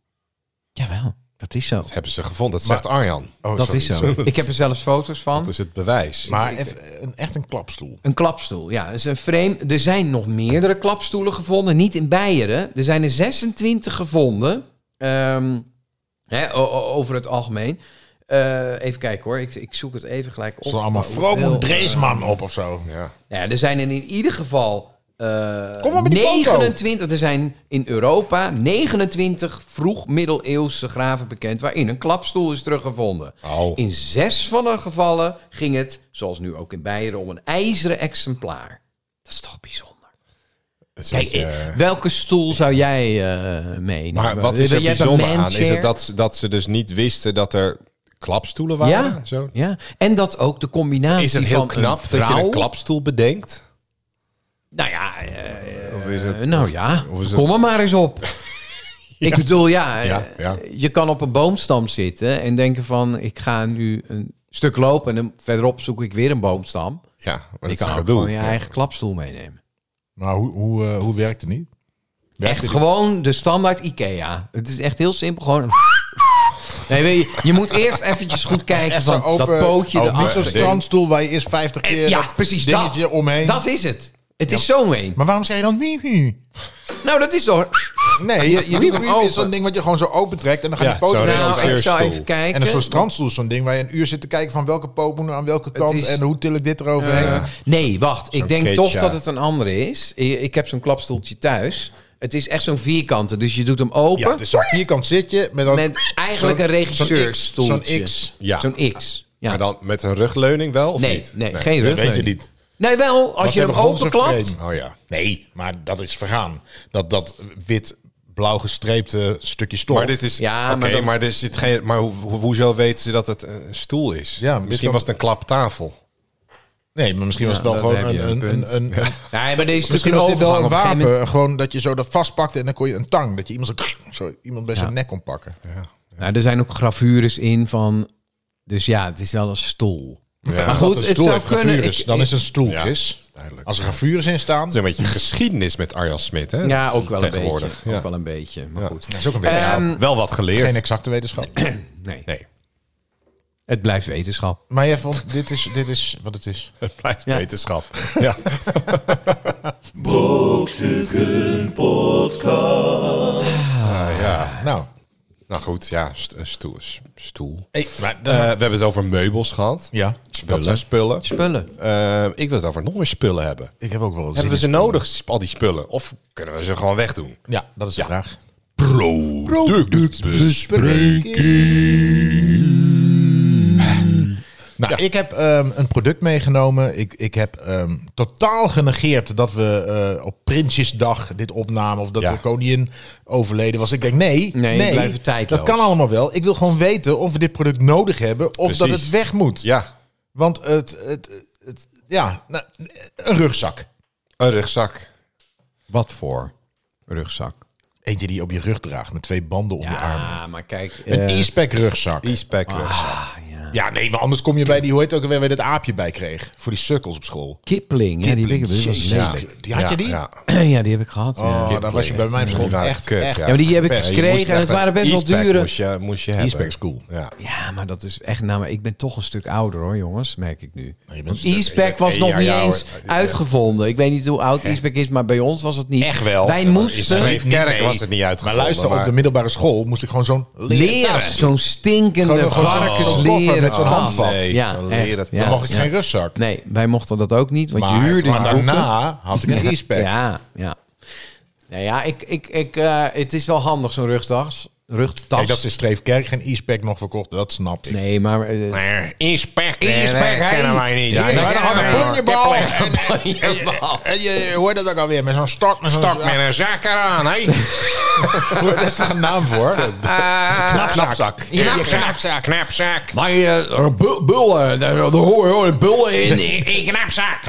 Speaker 4: Jawel, dat is zo.
Speaker 2: Dat hebben ze gevonden. Dat zegt Arjan.
Speaker 3: Oh,
Speaker 4: Dat
Speaker 3: sorry,
Speaker 4: is zo.
Speaker 3: sorry.
Speaker 4: Ik heb er zelfs foto's van.
Speaker 2: Dat is het bewijs.
Speaker 3: Maar even, een, echt een klapstoel.
Speaker 4: Een klapstoel, ja. Dat is een frame. Er zijn nog meerdere klapstoelen gevonden. Niet in Beieren. Er zijn er 26 gevonden. ehm, hè, o- o- over het algemeen. Eh, even kijken hoor. Ik, ik zoek het even gelijk op.
Speaker 3: Er staan allemaal
Speaker 4: Hoeveel,
Speaker 3: Vroom en
Speaker 4: eh,
Speaker 3: Dreesman op of zo.
Speaker 2: ja.
Speaker 4: ja, er zijn er in ieder geval eh,
Speaker 3: Kom maar met die foto.
Speaker 4: 29. Er zijn in Europa 29 vroeg middeleeuwse graven bekend waarin een klapstoel is teruggevonden.
Speaker 3: Oh.
Speaker 2: Au.
Speaker 4: In zes van de gevallen ging het, zoals nu ook in Beieren, om een ijzeren exemplaar. Dat is toch bijzonder.
Speaker 2: Het is
Speaker 4: Kijk,
Speaker 2: echt,
Speaker 4: eh,
Speaker 2: eh,
Speaker 4: welke stoel zou jij eh meenemen?
Speaker 2: Maar wat is
Speaker 4: Wil
Speaker 2: er
Speaker 4: jij zo'n
Speaker 2: bijzonder aan? Is
Speaker 4: manchair?
Speaker 2: het dat, ze- dat ze dus niet wisten dat er klapstoelen waren?
Speaker 4: Ja,
Speaker 2: Zo?
Speaker 4: ja, en dat ook de combinatie
Speaker 2: Is het heel
Speaker 4: van
Speaker 2: knap
Speaker 4: een
Speaker 2: dat je
Speaker 4: vrouw-
Speaker 2: een klapstoel bedenkt?
Speaker 4: Nou ja, eh,
Speaker 2: Of is het...
Speaker 4: nou ja,
Speaker 2: of is het-
Speaker 4: kom er maar eens op. Ik bedoel, ja, eh,
Speaker 2: Ja, ja.
Speaker 4: je kan op een boomstam zitten en denken van... ik ga nu een stuk lopen en dan verderop zoek ik weer een boomstam.
Speaker 2: Ja, maar dat
Speaker 4: Je
Speaker 2: is een
Speaker 4: kan ook
Speaker 2: gedoe.
Speaker 4: gewoon je eigen klapstoel meenemen.
Speaker 3: Maar hoe, hoe, eh, hoe werkt het niet? Werkt
Speaker 4: Echt
Speaker 3: het
Speaker 4: gewoon de standaard IKEA. Het is echt heel simpel. Gewoon. Nee, weet je, je moet eerst eventjes goed kijken
Speaker 3: niet?
Speaker 4: van
Speaker 3: Zo open-
Speaker 4: dat pootje
Speaker 3: oh, niet
Speaker 4: erachter.
Speaker 3: zo'n strandstoel waar je eerst 50 keer
Speaker 4: Eh, ja,
Speaker 3: dat
Speaker 4: precies
Speaker 3: dingetje
Speaker 4: dat.
Speaker 3: omheen.
Speaker 4: Dat is het. Het is zo'n een.
Speaker 3: Maar waarom zeg je dan wie wie?
Speaker 4: Nou, dat is toch.
Speaker 3: Nee,
Speaker 4: je doet
Speaker 3: wie
Speaker 4: hem
Speaker 3: wie
Speaker 4: open.
Speaker 3: is zo'n ding wat je gewoon zo opentrekt en dan gaan
Speaker 2: Ja,
Speaker 3: die poten
Speaker 2: zo.
Speaker 3: erin.
Speaker 4: Nou, ik zou
Speaker 2: lanceerstoel.
Speaker 4: even kijken.
Speaker 3: En een soort strandstoel is zo'n ding waar je een uur zit te kijken van welke poot moet nou aan welke kant
Speaker 4: is-
Speaker 3: en hoe til ik dit eroverheen.
Speaker 4: Eh, nee, wacht. Ik denk
Speaker 2: keetje.
Speaker 4: toch dat het een andere is. I- Ik heb zo'n klapstoeltje thuis. Het is echt zo'n vierkante, dus je doet hem open.
Speaker 3: ja, dus zo'n vierkant zit je met, dan
Speaker 4: met eigenlijk
Speaker 3: zo'n-
Speaker 4: een regisseurstoeltje.
Speaker 3: zo'n X, zo'n X.
Speaker 2: Ja.
Speaker 4: Zo'n X. Ja.
Speaker 2: Maar dan met een rugleuning wel of
Speaker 4: Nee,
Speaker 2: niet?
Speaker 4: nee, geen
Speaker 2: dat
Speaker 4: rugleuning.
Speaker 2: Weet je
Speaker 4: Nee, wel. Als
Speaker 3: Want
Speaker 4: je
Speaker 3: ze
Speaker 4: hem
Speaker 3: hebben gewoon
Speaker 4: openklapt.
Speaker 3: zo'n
Speaker 2: niet. Oh ja.
Speaker 3: Nee, maar dat is vergaan. Dat, dat wit-blauw gestreepte stukje stof.
Speaker 2: Maar dit is.
Speaker 4: Ja,
Speaker 2: oké,
Speaker 4: maar
Speaker 2: maar,
Speaker 4: dan-
Speaker 2: er zit geen. Maar ho- ho- hoezo weten ze dat het een stoel is?
Speaker 3: Ja, dit
Speaker 2: Misschien
Speaker 3: kan-
Speaker 2: was het een klaptafel.
Speaker 3: Nee, maar misschien was het wel
Speaker 4: dat
Speaker 3: gewoon
Speaker 4: heb je,
Speaker 3: een... een,
Speaker 4: punt.
Speaker 3: een, een-
Speaker 4: Nee, maar deze is
Speaker 3: Misschien
Speaker 4: natuurlijk
Speaker 3: was
Speaker 4: een
Speaker 3: dit wel
Speaker 4: overgang.
Speaker 3: een
Speaker 4: Op gegeven
Speaker 3: wapen.
Speaker 4: moment-
Speaker 3: Gewoon dat je zo dat vastpakte en dan kon je een tang. Dat je iemand, zo, zo, iemand bij zijn nek kon pakken.
Speaker 4: Nou, er zijn ook gravures in van... Dus ja, het is wel een stoel.
Speaker 2: Ja.
Speaker 4: maar
Speaker 2: Dat
Speaker 4: goed,
Speaker 3: een
Speaker 4: het
Speaker 3: stoel
Speaker 4: zou
Speaker 3: heeft
Speaker 4: kunnen...
Speaker 3: gravures.
Speaker 4: ik-
Speaker 3: dan is het een
Speaker 2: Ja,
Speaker 3: stoeltjes.
Speaker 2: duidelijk.
Speaker 3: Als er gravures in staan.
Speaker 2: Het is een beetje geschiedenis met Arjan Smit, hè?
Speaker 4: ja, ook wel een beetje.
Speaker 2: Tegenwoordig, ja.
Speaker 4: Ook wel een beetje, maar goed.
Speaker 3: Dat is ook een
Speaker 4: Ehm,
Speaker 3: wetenschap.
Speaker 2: Nou, wel wat geleerd.
Speaker 3: Geen exacte wetenschap.
Speaker 4: Nee,
Speaker 2: Nee,
Speaker 4: het blijft wetenschap.
Speaker 3: Maar jij vond, dit is, dit is wat het is.
Speaker 2: het blijft
Speaker 4: Ja.
Speaker 2: wetenschap. Ja.
Speaker 1: Brokstukken Podcast.
Speaker 3: Nou,
Speaker 2: Nou goed, ja, st- een stoel. s- stoel.
Speaker 3: hey, maar dat
Speaker 2: Eh,
Speaker 3: is-
Speaker 2: we hebben het over meubels gehad.
Speaker 3: ja.
Speaker 2: Dat zijn spullen.
Speaker 4: Spullen.
Speaker 2: Eh, ik wil het over nog meer spullen hebben.
Speaker 3: Ik heb ook wel eens.
Speaker 2: Hebben we ze nodig, sp- al die spullen? Of kunnen we ze gewoon wegdoen?
Speaker 3: Ja, dat is de vraag. Nou, ik heb ehm, een product meegenomen. Ik, ik heb ehm, totaal genegeerd dat we eh, op Prinsjesdag dit opnamen. Of dat
Speaker 2: Ja.
Speaker 3: de koningin overleden was. Ik denk, nee,
Speaker 4: Nee,
Speaker 3: nee,
Speaker 4: blijven tijdloos.
Speaker 3: dat kan allemaal wel. Ik wil gewoon weten of we dit product nodig hebben. Of dat
Speaker 2: Precies.
Speaker 3: het weg moet.
Speaker 2: Ja,
Speaker 3: Want het, het, het ja, nou, een rugzak.
Speaker 2: een rugzak.
Speaker 4: Wat voor? Rugzak.
Speaker 3: Eentje die je op je rug draagt met twee banden om je armen.
Speaker 4: Ja, maar kijk...
Speaker 3: Een
Speaker 4: eh,
Speaker 3: e-spec rugzak.
Speaker 2: E-spec rugzak.
Speaker 4: ah, ja.
Speaker 3: Ja, nee, maar anders kom je bij die, hoe heet het ook alweer, waar je dat aapje bij kreeg. Voor die sukkels op school.
Speaker 4: Kipling, ja, die,
Speaker 3: Kipling,
Speaker 4: die was
Speaker 3: jezus.
Speaker 4: lelijk.
Speaker 3: Die had je die?
Speaker 2: Ja,
Speaker 4: ja, die heb ik gehad. ja.
Speaker 3: Oh, daar was je bij mij op school
Speaker 2: Die waren
Speaker 3: echt,
Speaker 2: kut,
Speaker 3: echt.
Speaker 2: ja.
Speaker 4: Ja, maar die heb ik dus
Speaker 2: Ja, je moest
Speaker 4: gekregen en
Speaker 2: echt
Speaker 4: het waren
Speaker 2: een
Speaker 4: best wel
Speaker 2: e-spec
Speaker 4: dure.
Speaker 2: Moest je, moest je hebben.
Speaker 3: E-spec is cool.
Speaker 2: Ja.
Speaker 4: Ja, maar dat is echt... Nou, maar ik ben toch een stuk ouder hoor, jongens, merk ik nu.
Speaker 3: je bent
Speaker 4: Want
Speaker 3: een stuk-
Speaker 2: je
Speaker 4: e-spec
Speaker 2: bent
Speaker 4: was
Speaker 2: één
Speaker 4: nog
Speaker 2: jaar
Speaker 4: niet
Speaker 2: ouder.
Speaker 4: eens uitgevonden. Ik weet niet hoe oud e-spec is, maar bij ons was het niet.
Speaker 2: Echt wel.
Speaker 4: Wij
Speaker 2: Ja, maar in
Speaker 4: moesten
Speaker 2: Streefkerk was het niet
Speaker 3: Maar
Speaker 2: uitgevonden.
Speaker 3: luister, op de middelbare school moest ik gewoon zo'n
Speaker 4: leren.
Speaker 3: tas.
Speaker 4: Zo'n stinkende
Speaker 3: Gewoon- gewoon zo'n- zo'n
Speaker 4: varkensleren.
Speaker 3: koffer met zo'n
Speaker 4: tas.
Speaker 3: handvat.
Speaker 2: Nee,
Speaker 4: ja,
Speaker 2: zo'n
Speaker 4: echt,
Speaker 2: leren
Speaker 4: ja.
Speaker 2: tas.
Speaker 3: Dan mocht ik
Speaker 4: Ja.
Speaker 3: geen rugzak.
Speaker 4: Nee, wij mochten dat ook niet, want
Speaker 3: Maar,
Speaker 4: je huurde
Speaker 3: maar
Speaker 4: die boeken.
Speaker 3: daarna had ik een e-spec.
Speaker 4: Ja, ja. Nou ja, ik, ik, ik, eh, het is wel handig zo'n rugtas. rugtas.
Speaker 3: Kijk, dat is in Streefkerk geen e-spec nog verkocht. Dat snap ik.
Speaker 4: Nee, maar... eh,
Speaker 2: Nee, E-spec,
Speaker 4: E-spec,
Speaker 2: dat
Speaker 4: hè?
Speaker 2: kennen wij niet.
Speaker 3: Ja,
Speaker 2: Nee,
Speaker 3: maar dan
Speaker 2: kennen
Speaker 3: had
Speaker 2: wij
Speaker 3: een
Speaker 2: niet.
Speaker 3: plonjebal.
Speaker 2: Kipling.
Speaker 3: En, en, en je hoort dat ook alweer met zo'n stok. Met zo'n
Speaker 2: Start met een zak eraan, hè?
Speaker 3: Daar is toch een naam voor?
Speaker 2: Knapzak.
Speaker 4: Ja,
Speaker 2: Je
Speaker 4: knapzak.
Speaker 2: Knapzak. Knapzak.
Speaker 4: Maar uh, bullen, daar hoor je bullen in, in knapzak.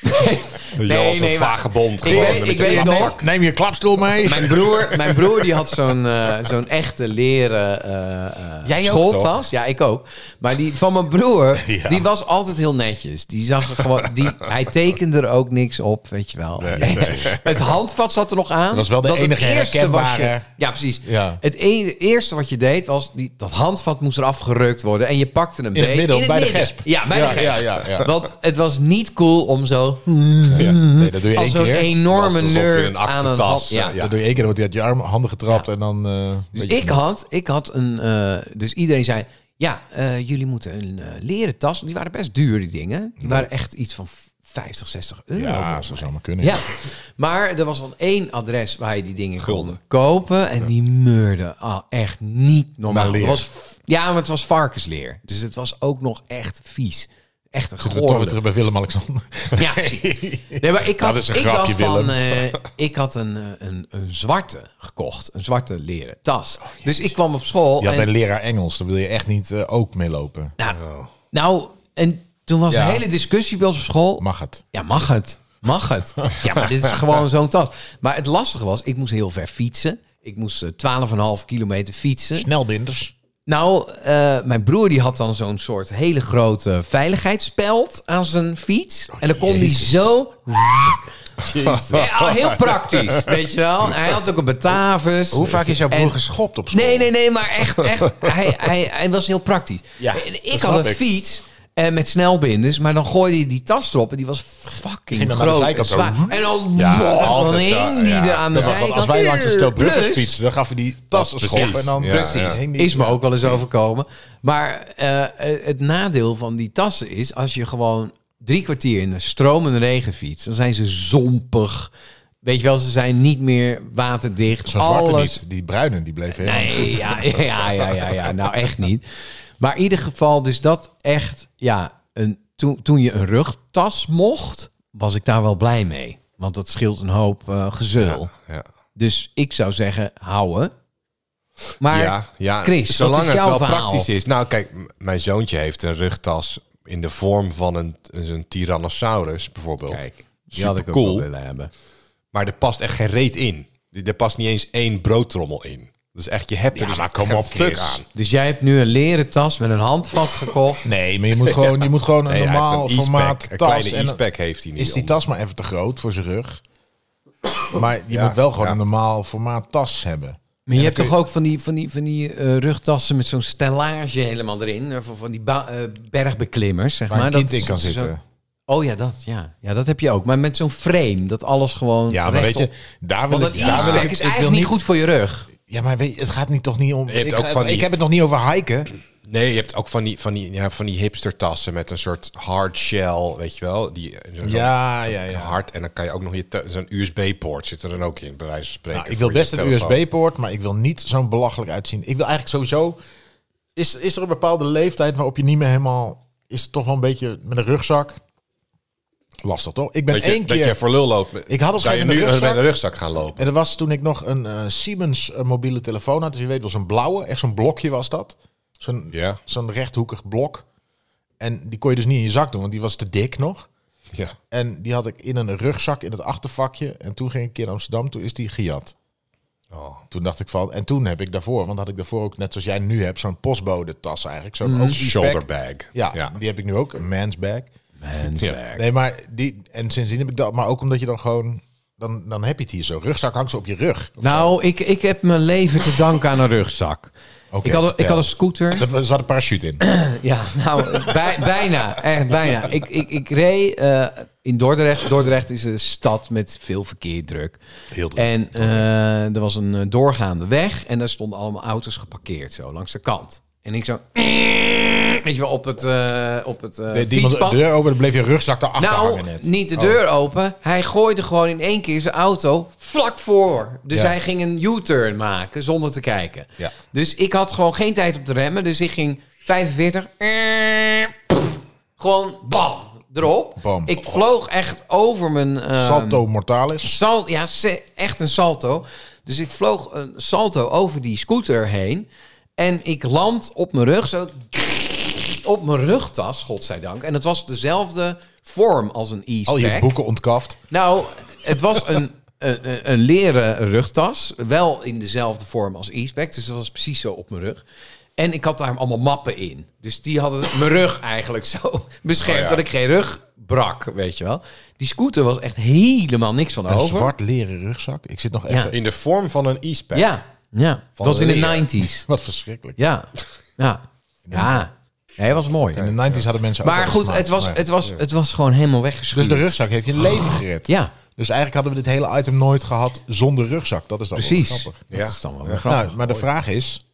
Speaker 2: Nee,
Speaker 4: nee,
Speaker 2: nee,
Speaker 4: maar-
Speaker 2: vagebond.
Speaker 4: Ik
Speaker 2: gewoon
Speaker 4: weet-
Speaker 2: met
Speaker 4: ik
Speaker 2: een
Speaker 4: weet
Speaker 2: knapzak.
Speaker 4: nog-
Speaker 3: Neem je klapstoel mee.
Speaker 4: Mijn broer, mijn broer die had zo'n eh, zo'n echte leren eh, eh,
Speaker 3: Jij ook,
Speaker 4: schooltas.
Speaker 3: toch?
Speaker 4: Ja, ik ook. Maar die van mijn broer,
Speaker 3: Ja.
Speaker 4: die was altijd heel netjes. Die zag er gewoon, die, hij tekende er ook niks op, weet je wel. Het handvat zat er nog aan. Dat
Speaker 3: was wel de
Speaker 4: het
Speaker 3: enige
Speaker 4: eerste was je-
Speaker 3: herkenbare.
Speaker 4: Ja, precies.
Speaker 3: Ja.
Speaker 4: Het e- eerste wat je deed was, die, dat handvat moest eraf gerukt worden. En je pakte hem
Speaker 3: In het
Speaker 4: beet.
Speaker 3: middel, bij de
Speaker 4: midden.
Speaker 3: gesp.
Speaker 4: Ja, bij
Speaker 3: Ja,
Speaker 4: de gesp.
Speaker 3: ja, ja, ja.
Speaker 4: Want het was niet cool om zo...
Speaker 3: Nee, dat doe je
Speaker 4: als
Speaker 3: één
Speaker 4: zo'n
Speaker 3: keer.
Speaker 4: enorme
Speaker 2: Het was alsof je
Speaker 4: nerd
Speaker 2: een
Speaker 4: aan een
Speaker 2: aktentas,
Speaker 4: hand...
Speaker 2: eh, ja.
Speaker 3: Dat doe je één keer, dan wordt hij uit je arm, handen getrapt en dan... eh,
Speaker 4: Dus
Speaker 3: weet je-
Speaker 4: ik had, ik had een. eh, dus iedereen zei. Ja, eh, jullie moeten een eh, leren tas. Die waren best duur, die dingen. Die waren echt iets van 50, 60 euro.
Speaker 3: Ja, zo zou maar kunnen.
Speaker 4: Ja, maar er was dan één adres waar je die dingen kon kopen. En die meurde ah, echt niet normaal.
Speaker 3: Naar leer.
Speaker 4: Het was, f- ja, maar het was varkensleer. Dus het was ook nog echt vies. Echt een
Speaker 3: Zitten we toch weer
Speaker 4: goor.
Speaker 3: terug bij Willem-Alexander.
Speaker 4: Ja, precies. nee, maar ik had,
Speaker 3: is een
Speaker 4: ik
Speaker 3: grapje,
Speaker 4: dacht van,
Speaker 3: Willem.
Speaker 4: eh, ik had een, eh, een, een zwarte gekocht. Een zwarte leren tas.
Speaker 3: Oh,
Speaker 4: dus ik kwam op school.
Speaker 3: Je had
Speaker 4: en,
Speaker 3: een leraar Engels, daar wil je echt niet eh, ook mee lopen.
Speaker 4: Nou, nou, en toen was
Speaker 3: Oh. Ja.
Speaker 4: een hele discussie bij ons op school.
Speaker 3: Mag het.
Speaker 4: Ja, mag het? Mag het? Ja, maar dit is gewoon zo'n tas. Maar het lastige was, ik moest heel ver fietsen. Ik moest eh, 12,5 kilometer fietsen.
Speaker 3: Snelbinders.
Speaker 4: Nou, eh, mijn broer die had dan zo'n soort hele grote veiligheidsspeld aan zijn fiets.
Speaker 3: Oh,
Speaker 4: en dan kon hij zo... Ja, heel praktisch, weet je wel. Hij had ook een Batavus.
Speaker 3: Hoe vaak is jouw broer
Speaker 4: En-
Speaker 3: geschopt op school?
Speaker 4: Nee, nee, nee, maar echt, echt. hij, hij, hij was heel praktisch.
Speaker 3: Ja,
Speaker 4: En
Speaker 3: dat
Speaker 4: ik
Speaker 3: snap
Speaker 4: had een
Speaker 3: ik.
Speaker 4: fiets eh, met snelbinders, maar dan gooide hij die tas erop en die was fucking
Speaker 3: Ging dan naar de
Speaker 4: groot
Speaker 3: zijkant zo.
Speaker 4: en zwaar. En dan,
Speaker 2: Ja,
Speaker 4: wow, dan
Speaker 2: altijd zo,
Speaker 4: hing die
Speaker 2: ja.
Speaker 4: er aan de
Speaker 3: Dat was
Speaker 4: zijkant.
Speaker 3: dan als wij langs een stel burgers
Speaker 4: Plus, Oh,
Speaker 3: fietsen, dan gaven die tassen
Speaker 2: Precies.
Speaker 3: schoppen. En dan
Speaker 2: Ja,
Speaker 4: Precies.
Speaker 2: ja.
Speaker 3: Hing die-
Speaker 4: Is me ook wel eens overkomen. Maar eh, eh, het nadeel van die tassen is... als je gewoon drie kwartier in de stromende regen fietst... dan zijn ze zompig. Weet je wel, ze zijn niet meer waterdicht.
Speaker 3: Zo'n zwarte
Speaker 4: Alles-
Speaker 3: niet. Die bruine, die bleef helemaal...
Speaker 4: Nee, ja, ja, ja, ja, ja. Nou, echt niet. Maar in ieder geval, dus dat echt... Ja, een, toen, toen je een rugtas mocht... was ik daar wel blij mee. Want dat scheelt een hoop eh, gezeul.
Speaker 2: Ja.
Speaker 4: Dus ik zou zeggen, houden. Maar
Speaker 2: ja, ja.
Speaker 4: Chris, wat
Speaker 2: zolang
Speaker 4: is
Speaker 2: het
Speaker 4: jouw
Speaker 2: wel
Speaker 4: verhaal?
Speaker 2: praktisch is. Nou, kijk, m- mijn zoontje heeft een rugtas in de vorm van een, een Tyrannosaurus bijvoorbeeld.
Speaker 4: Kijk, die had ik ook
Speaker 2: Supercool.
Speaker 4: wel willen hebben.
Speaker 2: Maar er past echt geen reet in. Er past niet eens één broodtrommel in. Dus echt, je hebt er dus geen fuck aan.
Speaker 4: Dus jij hebt nu een leren tas met een handvat gekocht.
Speaker 3: Nee, maar je moet gewoon, je moet gewoon een
Speaker 2: Nee, hij
Speaker 3: normaal
Speaker 2: heeft een
Speaker 3: formaat
Speaker 2: e-spec.
Speaker 3: tas.
Speaker 2: Een kleine
Speaker 3: en dan
Speaker 2: e-spec heeft hij niet.
Speaker 3: is die
Speaker 2: om.
Speaker 3: tas maar even te groot voor zijn rug. Maar je
Speaker 2: Ja,
Speaker 3: moet wel gewoon
Speaker 2: ja.
Speaker 3: een normaal formaat tas hebben.
Speaker 4: Maar je hebt
Speaker 2: kun
Speaker 4: toch ook van die, van die, van die eh, rugtassen met zo'n stellage helemaal erin. eh, Van, van die ba- eh, bergbeklimmers, zeg
Speaker 3: Waar
Speaker 4: maar.
Speaker 3: een kind in
Speaker 4: is-
Speaker 3: kan
Speaker 4: is ook-
Speaker 3: zitten.
Speaker 4: Oh ja dat, ja, ja, dat heb je ook. Maar met zo'n frame, dat alles gewoon
Speaker 3: Ja, maar weet
Speaker 4: rechtop-
Speaker 3: je, daar wil
Speaker 4: Want dat
Speaker 3: ik, daar wil
Speaker 4: e-spec
Speaker 3: ik,
Speaker 4: is
Speaker 3: ik wil
Speaker 4: eigenlijk niet goed voor je rug.
Speaker 3: Ja, maar weet, je, het gaat niet toch niet om.
Speaker 2: hebt
Speaker 3: Ik,
Speaker 2: ook
Speaker 3: ga-
Speaker 2: van die-
Speaker 3: ik heb het nog niet over hiken.
Speaker 2: Nee, je hebt ook van die, van die, ja, van die hipstertassen met een soort hard shell, weet je wel? Die, zo- zo'n
Speaker 3: Ja, ja, Nou, ja.
Speaker 2: hard. En dan kan je ook nog je te- zo'n USB-poort zit er dan ook in, bij wijze van spreken.
Speaker 3: Nou, ik
Speaker 2: voor
Speaker 3: wil
Speaker 2: je
Speaker 3: best een
Speaker 2: telefoon.
Speaker 3: USB-poort, maar ik wil niet zo'n belachelijk uitzien. Ik wil eigenlijk sowieso. Is, is er een bepaalde leeftijd waarop je niet meer helemaal. Is het toch wel een beetje met een rugzak? Lastig toch? Ik ben
Speaker 2: Dat je,
Speaker 3: één
Speaker 2: dat
Speaker 3: keer.
Speaker 2: je voor lul loopt. met-
Speaker 3: Ik had op een
Speaker 2: Zou je
Speaker 3: gegeven
Speaker 2: nu
Speaker 3: moment een
Speaker 2: met een rugzak gaan lopen?
Speaker 3: En dat was toen ik nog een eh, Siemens eh, mobiele telefoon had. Dus je weet wel, zo'n blauwe, echt zo'n blokje was dat. Zo'n
Speaker 2: Ja.
Speaker 3: zo'n rechthoekig blok. En die kon je dus niet in je zak doen, want die was te dik nog.
Speaker 2: Ja.
Speaker 3: En die had ik in een rugzak in het achtervakje. En toen ging ik een keer naar Amsterdam, toen is die gejat.
Speaker 2: Oh.
Speaker 3: Toen dacht ik van, en toen heb ik daarvoor, want had ik daarvoor ook, net zoals jij nu hebt, zo'n postbode tas eigenlijk. Zo'n
Speaker 2: Mhm.
Speaker 3: ook die
Speaker 2: Shoulder
Speaker 3: pack.
Speaker 2: bag.
Speaker 3: Ja, die heb ik nu ook, een man's bag.
Speaker 2: Ja.
Speaker 3: Nee, maar die, en sindsdien heb ik dat, maar ook omdat je dan gewoon, dan, dan heb je het hier zo. Rugzak hangt ze op je rug.
Speaker 4: Nou, ik, ik heb mijn leven te danken aan een rugzak.
Speaker 3: Oké,
Speaker 4: ik, had, een- ik
Speaker 3: vertel.
Speaker 4: had een scooter.
Speaker 3: Er zat een parachute in.
Speaker 4: Ja, nou, bij- bijna. Echt bijna. Ik, ik, ik reed eh, in Dordrecht. Dordrecht is een stad met veel verkeerdruk.
Speaker 3: Heel druk.
Speaker 4: En eh, er was een eh, doorgaande weg. En daar stonden allemaal auto's geparkeerd, zo, langs de kant. En ik zo... Weet je wel, op het, eh, op het eh,
Speaker 3: Nee, die iemand
Speaker 4: fietspad.
Speaker 3: de deur open, dan bleef je rugzak daarachter
Speaker 4: Nou,
Speaker 3: hangen net. Oh.
Speaker 4: niet de deur open. Hij gooide gewoon in één keer zijn auto vlak voor. Dus
Speaker 3: Ja.
Speaker 4: hij ging een U-turn maken zonder te kijken.
Speaker 3: Ja.
Speaker 4: Dus ik had gewoon geen tijd om te remmen. Dus ik ging 45. eh, pff, gewoon bam, erop.
Speaker 3: Bam.
Speaker 4: Ik vloog echt over mijn... eh,
Speaker 3: Salto mortalis.
Speaker 4: Sal, ja, se- echt een salto. Dus ik vloog een salto over die scooter heen. En ik land op mijn rug, zo op mijn rugtas, godzijdank. En het was dezelfde vorm als een
Speaker 3: Al je
Speaker 4: e-spec.
Speaker 3: boeken ontkaft.
Speaker 4: Nou, het was een, een, een- een leren rugtas. Wel in dezelfde vorm als e-spec. Dus dat was precies zo op mijn rug. En ik had daar allemaal mappen in. Dus die hadden mijn rug eigenlijk zo beschermd...
Speaker 2: Oh ja.
Speaker 4: dat ik geen rug brak, weet je wel. Die scooter was echt helemaal niks van
Speaker 3: Een
Speaker 4: over.
Speaker 3: zwart leren rugzak. Ik zit nog
Speaker 4: Ja.
Speaker 3: even...
Speaker 2: In de vorm van een e-spec.
Speaker 4: Ja, ja. Het was in
Speaker 2: leer.
Speaker 4: de 90s.
Speaker 3: Wat verschrikkelijk.
Speaker 4: Ja, ja. Ja, nee, het was mooi.
Speaker 3: In de 90s hadden mensen ook
Speaker 4: Maar
Speaker 3: wel
Speaker 4: goed,
Speaker 3: smaak,
Speaker 4: het was,
Speaker 3: maar-
Speaker 4: het Oh. was, het was gewoon helemaal weggeschuurd.
Speaker 3: Dus de rugzak heeft je leven gered.
Speaker 2: Oh,
Speaker 4: Ja,
Speaker 3: Dus eigenlijk hadden we dit hele item nooit gehad zonder rugzak. Dat is dan wel
Speaker 4: precies.
Speaker 3: grappig.
Speaker 4: Dat
Speaker 2: Ja.
Speaker 4: is dan wel weer grappig.
Speaker 3: Nou, maar de vraag is...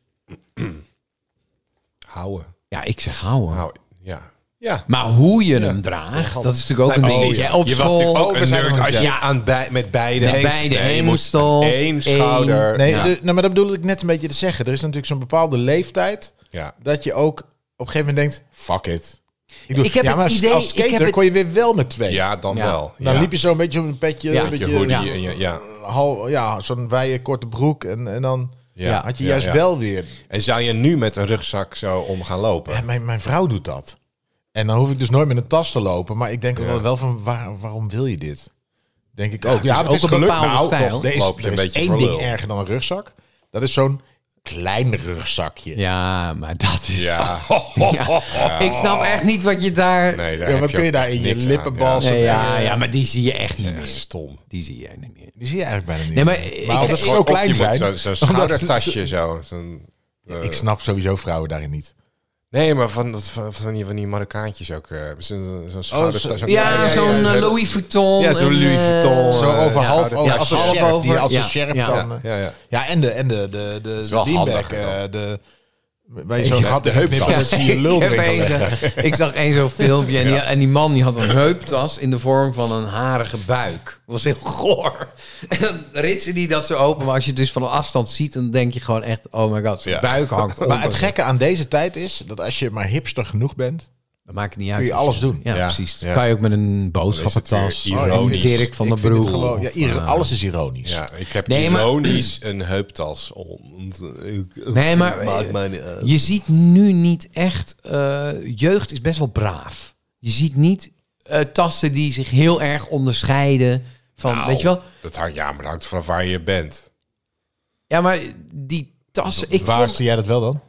Speaker 2: Houden.
Speaker 4: Ja, ik zeg houden.
Speaker 2: Houden. Ja. Nou. Ja.
Speaker 4: Maar hoe je hem draagt, dat is natuurlijk ook een
Speaker 2: Nee,
Speaker 4: dingetje.
Speaker 2: precies.
Speaker 4: hè. Op
Speaker 2: je was
Speaker 4: school,
Speaker 2: natuurlijk ook
Speaker 3: we
Speaker 2: een
Speaker 3: zijn
Speaker 2: nerd
Speaker 3: er-
Speaker 2: als je
Speaker 4: ja.
Speaker 2: aan bij, met beide
Speaker 4: Met
Speaker 2: hengels-
Speaker 4: beide
Speaker 2: nee, je moest
Speaker 4: hengels,
Speaker 2: één
Speaker 4: één-
Speaker 2: schouder.
Speaker 3: Nee,
Speaker 4: Ja.
Speaker 3: de- nou, maar dat bedoelde ik net een beetje te zeggen. Er is natuurlijk zo'n bepaalde leeftijd...
Speaker 2: Ja.
Speaker 3: dat je ook op een gegeven moment denkt... Fuck it. Ik, bedoel,
Speaker 4: Ik heb
Speaker 3: ja,
Speaker 4: het
Speaker 3: maar als-
Speaker 4: idee-
Speaker 3: als
Speaker 4: ik heb
Speaker 3: skater
Speaker 4: het-
Speaker 3: kon je weer wel met twee.
Speaker 2: ja, dan
Speaker 4: Ja.
Speaker 2: wel.
Speaker 3: Dan
Speaker 2: ja.
Speaker 3: liep je zo een beetje op een petje.
Speaker 4: Ja.
Speaker 3: een
Speaker 2: Met
Speaker 3: beetje,
Speaker 2: je hoodie
Speaker 4: Ja.
Speaker 2: en je- ja.
Speaker 3: hal, ja, zo'n wijde korte broek. En, en dan
Speaker 2: Ja.
Speaker 3: ja, had je
Speaker 2: Ja,
Speaker 3: juist
Speaker 2: ja.
Speaker 3: wel weer...
Speaker 2: En zou je nu met een rugzak zo om gaan lopen?
Speaker 3: Ja, mijn, mijn vrouw doet dat. En dan hoef ik dus nooit met een tas te lopen. Maar ik denk ook wel- wel van, waar- waarom wil je dit? Denk ik ook.
Speaker 4: het is ook een bepaalde stijl.
Speaker 3: Nou, Er is,
Speaker 2: Loop je
Speaker 3: er
Speaker 2: een
Speaker 3: is
Speaker 2: beetje
Speaker 3: één
Speaker 2: voor
Speaker 3: ding
Speaker 2: lul.
Speaker 3: erger dan een rugzak. Dat is zo'n klein rugzakje.
Speaker 4: Ja, maar dat is...
Speaker 2: Ja.
Speaker 3: Oh.
Speaker 4: Ja. Ik snap echt niet wat je daar...
Speaker 2: Nee, daar
Speaker 3: Ja,
Speaker 2: heb
Speaker 3: wat kun je
Speaker 2: ook
Speaker 3: daar in je
Speaker 2: niks aan,
Speaker 3: lippenbal
Speaker 2: ja.
Speaker 4: Nee, ja, ja, maar die zie je echt niet
Speaker 2: Ja,
Speaker 4: meer.
Speaker 2: Stom.
Speaker 4: Die zie je niet meer.
Speaker 3: Die zie je eigenlijk bijna niet.
Speaker 4: Nee, maar
Speaker 3: meer.
Speaker 4: ik-
Speaker 3: omdat
Speaker 4: ik-
Speaker 3: ze
Speaker 2: Gewoon
Speaker 3: zo
Speaker 2: of je
Speaker 3: klein
Speaker 2: moet
Speaker 3: zijn.
Speaker 2: zo- Zo'n
Speaker 3: omdat ze-
Speaker 2: schoudertasje zo. Zo'n-
Speaker 3: Ik snap sowieso vrouwen daarin niet.
Speaker 2: Nee, maar van, dat- van, van, die, van die Marokkaantjes ook. eh, Zo'n zo'n schoudertasje. zo'n-
Speaker 4: Oh, Ja, zo'n eh,
Speaker 2: ja.
Speaker 4: Louis Vuitton.
Speaker 2: Ja, zo'n
Speaker 4: en,
Speaker 2: Louis
Speaker 4: eh,
Speaker 2: Vuitton.
Speaker 3: Zo
Speaker 2: eh,
Speaker 3: over half
Speaker 2: schouder-
Speaker 3: over.
Speaker 4: ja,
Speaker 3: als een
Speaker 4: half
Speaker 3: sjerp,
Speaker 4: over,
Speaker 3: die als een
Speaker 4: ja,
Speaker 3: sjerp
Speaker 4: ja.
Speaker 3: dan. eh,
Speaker 2: Ja, ja.
Speaker 3: Ja, en de, en de, de, de,
Speaker 2: wel
Speaker 3: de beanbag,
Speaker 2: handiger dan.
Speaker 3: eh, de, waar je zo'n gat in
Speaker 2: de
Speaker 3: hebt,
Speaker 2: heuptas.
Speaker 3: dat je je lul
Speaker 4: ik, heb
Speaker 3: erin kan
Speaker 4: één,
Speaker 3: leggen.
Speaker 4: eh, ik zag één zo'n filmpje en die, en die man die had een heuptas in de vorm van een harige buik. Dat was heel goor. En dan ritsen die dat zo open, maar als je het dus van een afstand ziet, dan denk je gewoon echt, oh my god, zijn
Speaker 2: Ja.
Speaker 4: buik hangt
Speaker 3: Maar
Speaker 4: onder.
Speaker 3: het gekke aan deze tijd is dat als je maar hipster genoeg bent,
Speaker 4: Dat maakt niet uit.
Speaker 3: kun je alles doen.
Speaker 4: Ja,
Speaker 2: Ja,
Speaker 4: precies. Dat
Speaker 2: ja.
Speaker 4: kan je ook met een
Speaker 2: Dan
Speaker 4: boodschappentas.
Speaker 2: is het weer ironisch.
Speaker 4: Oh, ik vind- Dirk van
Speaker 3: ik
Speaker 4: der
Speaker 3: vind het
Speaker 4: Broek.
Speaker 3: gewoon- ja, ieder-
Speaker 4: eh,
Speaker 3: alles is ironisch.
Speaker 2: Ja, ik heb
Speaker 4: Nee, maar-
Speaker 2: ironisch een heuptas om. Ik-
Speaker 4: Nee, maar
Speaker 2: Maakt
Speaker 4: eh,
Speaker 2: mij niet uit.
Speaker 4: je ziet nu niet echt... eh, jeugd is best wel braaf. Je ziet niet eh, tassen die zich heel erg onderscheiden van...
Speaker 2: Nou,
Speaker 4: Weet je wel?
Speaker 2: Dat hangt, ja, maar dat hangt vanaf waar je bent.
Speaker 4: Ja, maar die tassen... Ik
Speaker 3: Waar
Speaker 4: vond,
Speaker 3: zie jij dat wel dan?